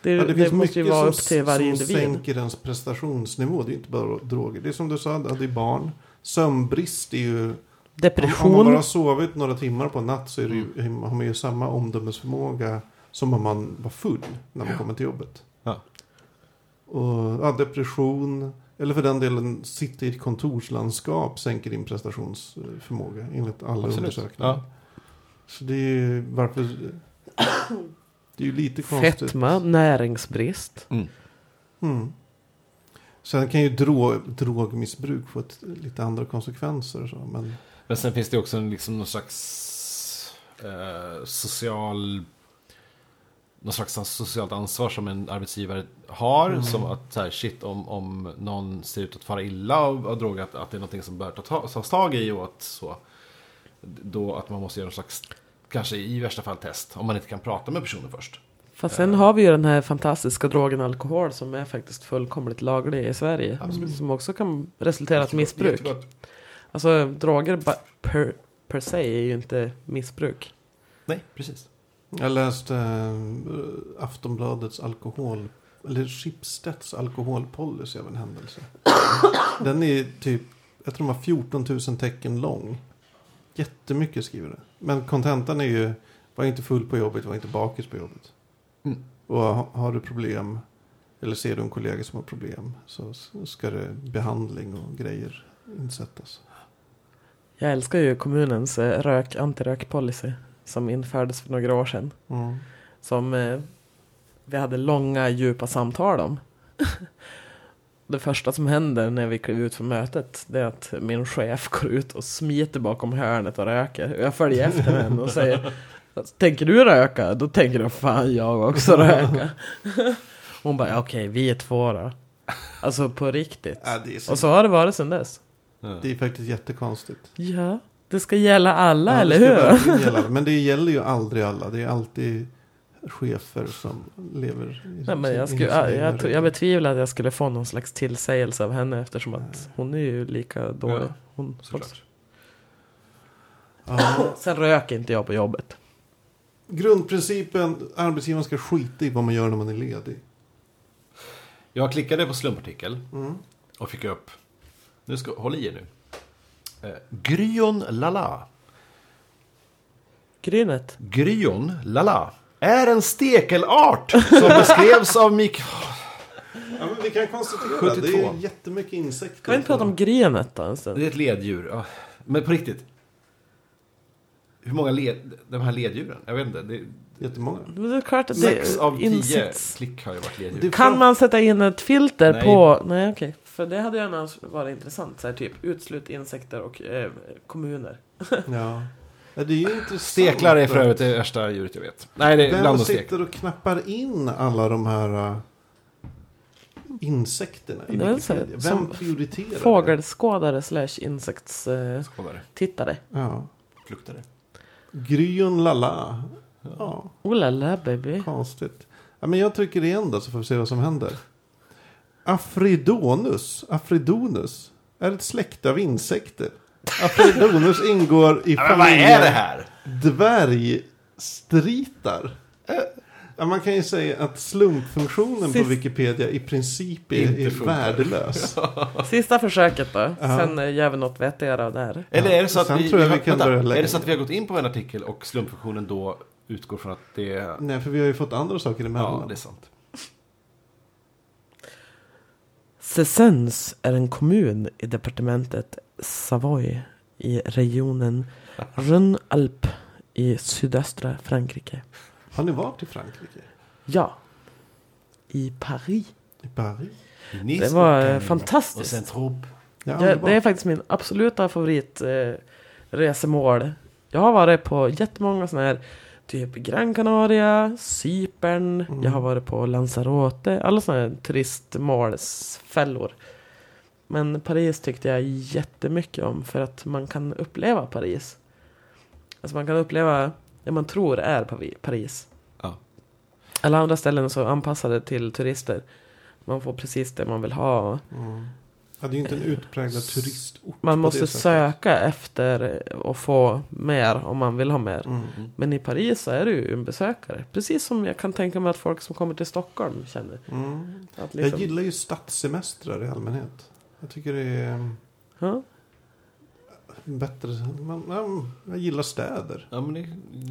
Speaker 3: Det,
Speaker 2: Ja,
Speaker 3: det, måste ju vara upp till varje
Speaker 2: som
Speaker 3: individ.
Speaker 2: sänker ens prestationsnivå. Det är inte bara droger. Det är som du sa, att det är barn. Sömnbrist är ju... Om, om man
Speaker 3: Depression.
Speaker 2: bara har sovit några timmar på en natt så är det ju,
Speaker 1: Mm.
Speaker 2: har man ju samma omdömesförmåga som om man var full när man kommer till jobbet.
Speaker 1: Ja.
Speaker 2: Och, ja, depression, eller för den delen sitta i ett kontorslandskap sänker din prestationsförmåga enligt alla undersökningar.
Speaker 1: Ja.
Speaker 2: Så det är ju varför... Det är ju lite konstigt.
Speaker 3: Fetma, näringsbrist.
Speaker 1: Mm.
Speaker 2: Mm. Sen kan ju drog, drogmissbruk få ett, lite andra konsekvenser. och Så, men
Speaker 1: Men sen finns det också en, liksom någon slags eh, social... Någon slags socialt ansvar som en arbetsgivare har. Som att så här, shit om, om någon ser ut att fara illa av, av droger. Att, att det är någonting som bör ta- tas tag i och att så. Då att man måste göra någon slags kanske i värsta fall test. Om man inte kan prata med personen först.
Speaker 3: Fast sen har vi ju den här fantastiska drogen alkohol som är faktiskt fullkomligt laglig i Sverige.
Speaker 1: Absolut.
Speaker 3: Som också kan resultera i ett missbruk.
Speaker 1: Jättegott.
Speaker 3: Alltså droger ba- per, per se är ju inte missbruk.
Speaker 1: Nej, precis.
Speaker 2: Jag läste eh, Aftonbladets alkohol... Eller Schibsteds alkoholpolicy av en händelse. Den är typ... Jag tror de var 14 000 tecken lång. Jättemycket skriver det. Men kontentan är ju... Var inte full på jobbet, var inte bakis på jobbet.
Speaker 1: Mm.
Speaker 2: Och ha- har du problem... Eller ser du en kollega som har problem. Så s- ska det behandling och grejer insättas.
Speaker 3: Jag älskar ju kommunens eh, rök antirökpolicy som infördes för några år sedan.
Speaker 2: Mm.
Speaker 3: Som eh, vi hade långa djupa samtal om. det första som händer när vi kliver ut från mötet det är att min chef går ut och smiter bakom hörnet och röker. Och Jag följer efter henne och säger Tänker du röka? Då tänker jag fan jag också röka. Hon bara "Ja, okej vi är två då. Alltså på riktigt.
Speaker 2: Ja, det, är så,
Speaker 3: Och så har det varit sedan dess.
Speaker 1: Ja.
Speaker 2: det är faktiskt jättekonstigt.
Speaker 3: Ja, det ska gälla alla,
Speaker 2: Ja, det
Speaker 3: eller
Speaker 2: ska
Speaker 3: hur?
Speaker 2: verkligen gälla. Men det gäller ju aldrig alla. Det är alltid chefer som lever i
Speaker 3: Nej, men jag,
Speaker 2: sin-
Speaker 3: skulle,
Speaker 2: inom sina
Speaker 3: jag,
Speaker 2: egna
Speaker 3: jag, tror- jag
Speaker 2: regler.
Speaker 3: betvivlar att jag skulle få någon slags tillsägelse av henne eftersom att hon är ju lika dålig.
Speaker 1: Ja,
Speaker 3: Hon,
Speaker 1: Såklart.
Speaker 2: ja.
Speaker 3: sen röker inte jag på jobbet.
Speaker 2: Grundprincipen, arbetsgivaren ska skita i vad man gör när man är ledig.
Speaker 1: Jag klickade på slumpartikel
Speaker 2: Mm.
Speaker 1: och fick upp... Nu ska, håll i er nu. Eh, Gryon Lala.
Speaker 3: Grynet.
Speaker 1: Gryon Lala är en stekelart som beskrevs av Mik...
Speaker 2: Ja, men vi kan konstatera.
Speaker 1: 72.
Speaker 2: Det är jättemycket insekter.
Speaker 3: Kan vi inte prata om grynet då en
Speaker 1: Det
Speaker 3: stund?
Speaker 1: är ett leddjur. Ja. Men på riktigt. Hur många led... De här leddjuren? Jag vet inte. Det är...
Speaker 2: Jättemånga.
Speaker 3: Men Det är klart att det
Speaker 1: Sex av tio
Speaker 3: insekts-
Speaker 1: klick har ju varit leddjur.
Speaker 2: Det-
Speaker 3: Kan man sätta in ett filter
Speaker 1: Nej.
Speaker 3: på... Nej, okej. För det hade ju annars varit intressant. Så här, typ uteslut insekter och eh, kommuner.
Speaker 2: Ja. Ja, det är ju intressant.
Speaker 1: Steklar är för övrigt det värsta djuret jag vet. Nej, det är bland
Speaker 2: Vem
Speaker 1: de steklar.
Speaker 2: sitter och knappar in alla de här äh, insekterna i
Speaker 3: Det är väl så här,
Speaker 2: Wikipedia? Vem
Speaker 3: som
Speaker 2: prioriterar? det?
Speaker 3: Fågelskådare slash insektstittare. Eh,
Speaker 1: Skådare.
Speaker 3: tittare.
Speaker 2: Ja.
Speaker 1: Luktare.
Speaker 2: Gryon lala. Ja.
Speaker 3: oh la la baby.
Speaker 2: Konstigt. Ja, men jag trycker igen då så får vi se vad som händer. Afridonus. Afridonus. Är ett släkte av insekter. Afridonus ingår i
Speaker 1: Men vad är det
Speaker 2: familjen
Speaker 1: här?
Speaker 2: dvärgstritar. Ja, man kan ju säga att slumpfunktionen på
Speaker 3: Sist-
Speaker 2: Wikipedia i princip är,
Speaker 1: Inte
Speaker 2: är
Speaker 1: funkar.
Speaker 2: värdelös.
Speaker 3: Sista försöket då.
Speaker 2: Ja.
Speaker 3: Sen eh, gör vi något vettigare av det här.
Speaker 1: Eller är det så att
Speaker 2: Sen
Speaker 1: vi,
Speaker 2: tror jag vi kan
Speaker 1: vänta,
Speaker 2: börja lägga
Speaker 1: är det så
Speaker 2: ner.
Speaker 1: att vi har gått in på en artikel och slumpfunktionen då utgår från att det är...
Speaker 2: Nej, för vi har ju fått andra saker emellan.
Speaker 1: Ja, det är sant.
Speaker 3: Sessens är en kommun i departementet Savoy i regionen Rhône-Alpes i sydöstra Frankrike.
Speaker 2: Har ni varit i Frankrike?
Speaker 3: Ja, i Paris.
Speaker 2: I Paris?
Speaker 1: Nice
Speaker 3: var,
Speaker 1: och
Speaker 3: eh,
Speaker 1: Cannes
Speaker 3: fantastiskt.
Speaker 1: Och sen Trobe.
Speaker 2: Ja,
Speaker 3: Ja,
Speaker 2: ni
Speaker 3: det är
Speaker 2: var.
Speaker 3: faktiskt min absoluta favoritresemål. Eh, resemål. jag har varit på jättemånga sådana här, typ Gran Canaria, Cypern,
Speaker 2: Mm.
Speaker 3: jag har varit på Lanzarote, alla sådana här turistmålsfällor. Men Paris tyckte jag jättemycket om för att man kan uppleva Paris. Alltså man kan uppleva det man tror är Pavi- Paris.
Speaker 1: Ja.
Speaker 3: Alla andra ställen så anpassade till turister. Man får precis det man vill ha. och-
Speaker 2: Mm. ja, det är ju inte en utpräglad turistort. på
Speaker 3: man
Speaker 2: det
Speaker 3: måste
Speaker 2: sättet.
Speaker 3: söka efter och få mer om man vill ha mer.
Speaker 2: Mm.
Speaker 3: Men i Paris så är du ju en besökare. Precis som jag kan tänka mig att folk som kommer till Stockholm känner.
Speaker 2: Mm.
Speaker 3: Att
Speaker 2: Jag
Speaker 3: liksom,
Speaker 2: gillar ju stadssemestrar i allmänhet. Jag tycker det är mm,
Speaker 3: ja,
Speaker 2: bättre. Man, man, jag gillar städer.
Speaker 1: Ja, men det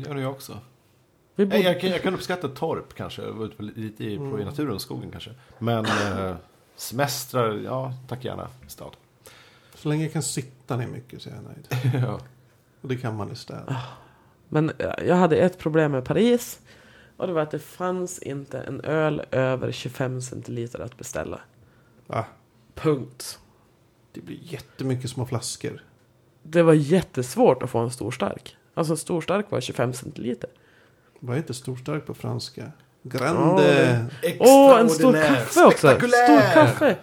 Speaker 1: gör jag också.
Speaker 3: vi
Speaker 1: Nej,
Speaker 3: bodde,
Speaker 1: jag, kan, jag kan uppskatta torp kanske, vara ute på, lite i, på, i
Speaker 2: Mm.
Speaker 1: naturen och skogen kanske. Men eh, semestrar, ja tack gärna stad.
Speaker 2: Så länge jag kan sitta ner mycket så är jag nöjd.
Speaker 1: ja.
Speaker 2: Och det kan man i städer.
Speaker 3: Ah. men jag hade ett problem med Paris. Och det var att det fanns inte en öl över 25 centiliter att beställa.
Speaker 2: Va?
Speaker 3: Punkt.
Speaker 2: Det blir jättemycket små flaskor.
Speaker 3: Det var jättesvårt att få en stor stark. Alltså en stor stark var 25 centiliter.
Speaker 2: Vad heter storstark på franska?
Speaker 3: Ja,
Speaker 2: Grande.
Speaker 3: det- Åh, en stor kaffe också! Stor kaffe!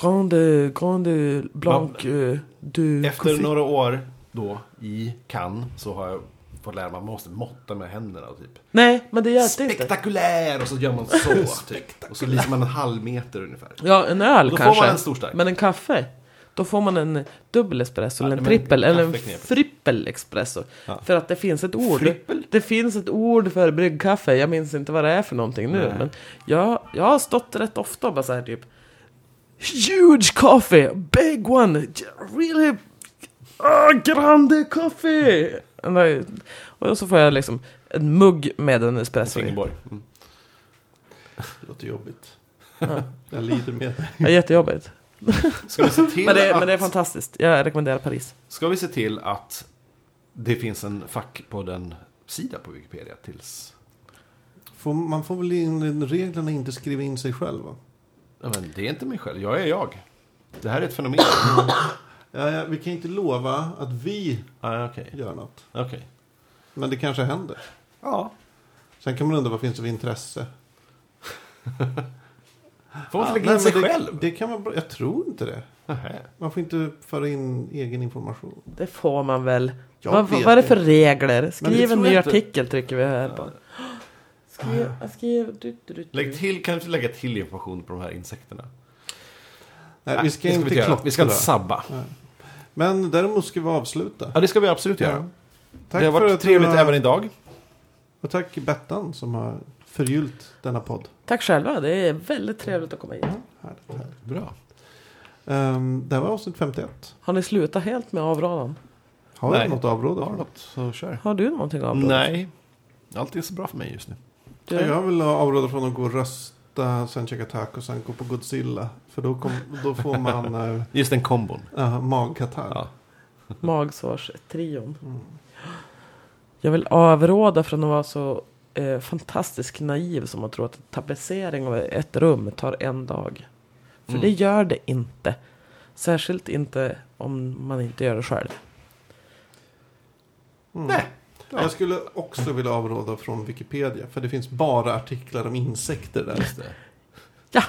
Speaker 3: Grande, grande blanc eh, du
Speaker 1: Efter några år då i Cannes så har jag fått lära mig att man måste måtta med händerna. Och typ.
Speaker 3: Nej, men det hjälpte inte.
Speaker 1: Spektakulär! Och så gör man så. typ. Och så lirar man en halv meter ungefär.
Speaker 3: Ja, en öl
Speaker 1: Då får
Speaker 3: kanske.
Speaker 1: man en stor stark.
Speaker 3: Men en kaffe? Då får man en dubbel espresso,
Speaker 1: Ja,
Speaker 3: eller en
Speaker 1: men
Speaker 3: trippel, eller en
Speaker 1: kaffe knep.
Speaker 3: frippel espresso.
Speaker 1: Ja.
Speaker 3: För att det finns ett ord.
Speaker 1: Frippel?
Speaker 3: Det finns ett ord för bryggkaffe, jag minns inte vad det är för någonting nu.
Speaker 1: Nej.
Speaker 3: Men jag, jag har stått rätt ofta och bara så här typ Huge coffee, big one, really ah, grande coffee! Nej. Och så får jag liksom en mugg med en espresso i.
Speaker 1: Ingeborg. Mm.
Speaker 2: Det låter jobbigt. Jag lider med det.
Speaker 3: Det är jättejobbigt.
Speaker 1: Ska vi se till
Speaker 3: Men det,
Speaker 1: att...
Speaker 3: men det är fantastiskt, jag rekommenderar Paris.
Speaker 1: Ska vi se till att det finns en fack på den sida på Wikipedia tills...
Speaker 2: Får, man får väl in reglerna inte skriva in sig själv va?
Speaker 1: Ja, men det är inte mig själv, jag är jag. Det här är ett fenomen.
Speaker 2: Ja, ja, vi kan inte lova att vi
Speaker 1: ah, Okej.
Speaker 2: gör något.
Speaker 1: Okej.
Speaker 2: Men det kanske händer.
Speaker 1: Ja,
Speaker 2: Sen kan man undra vad finns det för intresse.
Speaker 1: får man
Speaker 2: Ja,
Speaker 1: inte lägga
Speaker 2: nej,
Speaker 1: in sig
Speaker 2: men alltså, det,
Speaker 1: själv?
Speaker 2: Det kan man, bra- jag tror inte det.
Speaker 1: Nähä.
Speaker 2: Man får inte föra in egen information.
Speaker 3: Det får man väl.
Speaker 2: Jag
Speaker 3: Vad,
Speaker 2: vet
Speaker 3: vad är det för
Speaker 2: inte.
Speaker 3: regler? Skriv
Speaker 1: tror
Speaker 3: en ny
Speaker 1: jag inte.
Speaker 3: artikel trycker vi här på. Skriv, skriv, du, du, du,
Speaker 1: Lägg
Speaker 3: du.
Speaker 1: till, kan du lägga till information på de här insekterna?
Speaker 2: Nej, vi ska
Speaker 1: det
Speaker 2: inte
Speaker 1: vi göra.
Speaker 2: klottra.
Speaker 1: Vi ska inte sabba.
Speaker 2: Men däremot ska vi avsluta.
Speaker 1: Ja, det ska vi absolut göra.
Speaker 2: Ja. Tack
Speaker 1: det har
Speaker 2: för
Speaker 1: varit
Speaker 2: att du
Speaker 1: trevligt
Speaker 2: har-
Speaker 1: även idag.
Speaker 2: Och tack Bettan som har förgyllt denna podd.
Speaker 3: Tack själva, det är väldigt trevligt att komma hit.
Speaker 2: Härligt, härligt.
Speaker 1: Bra.
Speaker 2: Ehm, det här var avsnitt 51.
Speaker 3: Har ni slutat helt med avradan?
Speaker 2: Har du
Speaker 1: Nej.
Speaker 2: något avråd?
Speaker 1: Har du
Speaker 2: Ja,
Speaker 1: något så kör.
Speaker 3: Har du någonting avradan?
Speaker 1: Nej. Allt är så bra för mig just nu.
Speaker 3: Du,
Speaker 2: jag vill avråda från att gå och rösta, sen käka tacos, sen gå på Godzilla. För då, kom, då får man eh,
Speaker 1: Just den kombon.
Speaker 2: eh, magkatarr.
Speaker 1: Ja.
Speaker 3: Magsårstrion.
Speaker 1: Mm.
Speaker 3: Jag vill avråda från att vara så eh, fantastiskt naiv som att tro att tapetsering av ett rum tar en dag. För
Speaker 1: Mm.
Speaker 3: det gör det inte. Särskilt inte om man inte gör det själv.
Speaker 1: Nej.
Speaker 2: Jag skulle också vilja avråda från Wikipedia. För det finns bara artiklar om insekter där.
Speaker 1: Just det.
Speaker 3: Ja!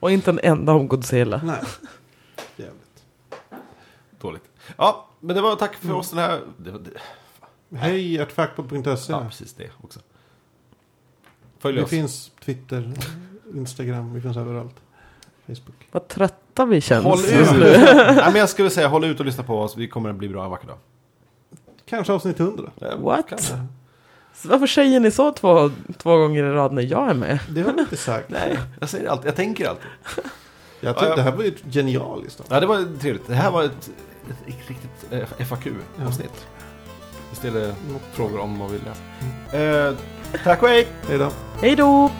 Speaker 3: Och inte en enda om Godzilla.
Speaker 2: Nej. Jävligt.
Speaker 1: Dåligt. Ja, men det var tack för oss den här... Det var, det,
Speaker 2: Hej, artfackpodd.se.
Speaker 1: ja, precis det också. Följ
Speaker 2: E. det
Speaker 1: oss.
Speaker 2: finns Twitter, Instagram, vi finns överallt. Facebook.
Speaker 3: Vad trötta vi känns.
Speaker 1: Håll
Speaker 3: just
Speaker 1: ut.
Speaker 3: nu.
Speaker 1: Nej, men jag skulle säga håll ut och lyssna på oss. Vi kommer att bli bra en vacker dag.
Speaker 2: Kanske avsnitt 100.
Speaker 1: Eh,
Speaker 3: What?
Speaker 1: kanske.
Speaker 3: Så Varför säger ni så två, två gånger i rad när jag är med?
Speaker 2: Det har vi inte sagt.
Speaker 1: Nej, jag säger det alltid. Jag tänker alltid.
Speaker 2: Jag
Speaker 1: Ja,
Speaker 2: tyckte
Speaker 1: ja.
Speaker 2: det här var ju genialiskt.
Speaker 1: Ja, det var trevligt. Det här var ett, ett riktigt eh, FAQ-avsnitt. Vi ställde frågor om vad vi läste. Eh, tack och hej!
Speaker 2: Hej då.
Speaker 3: Hej då!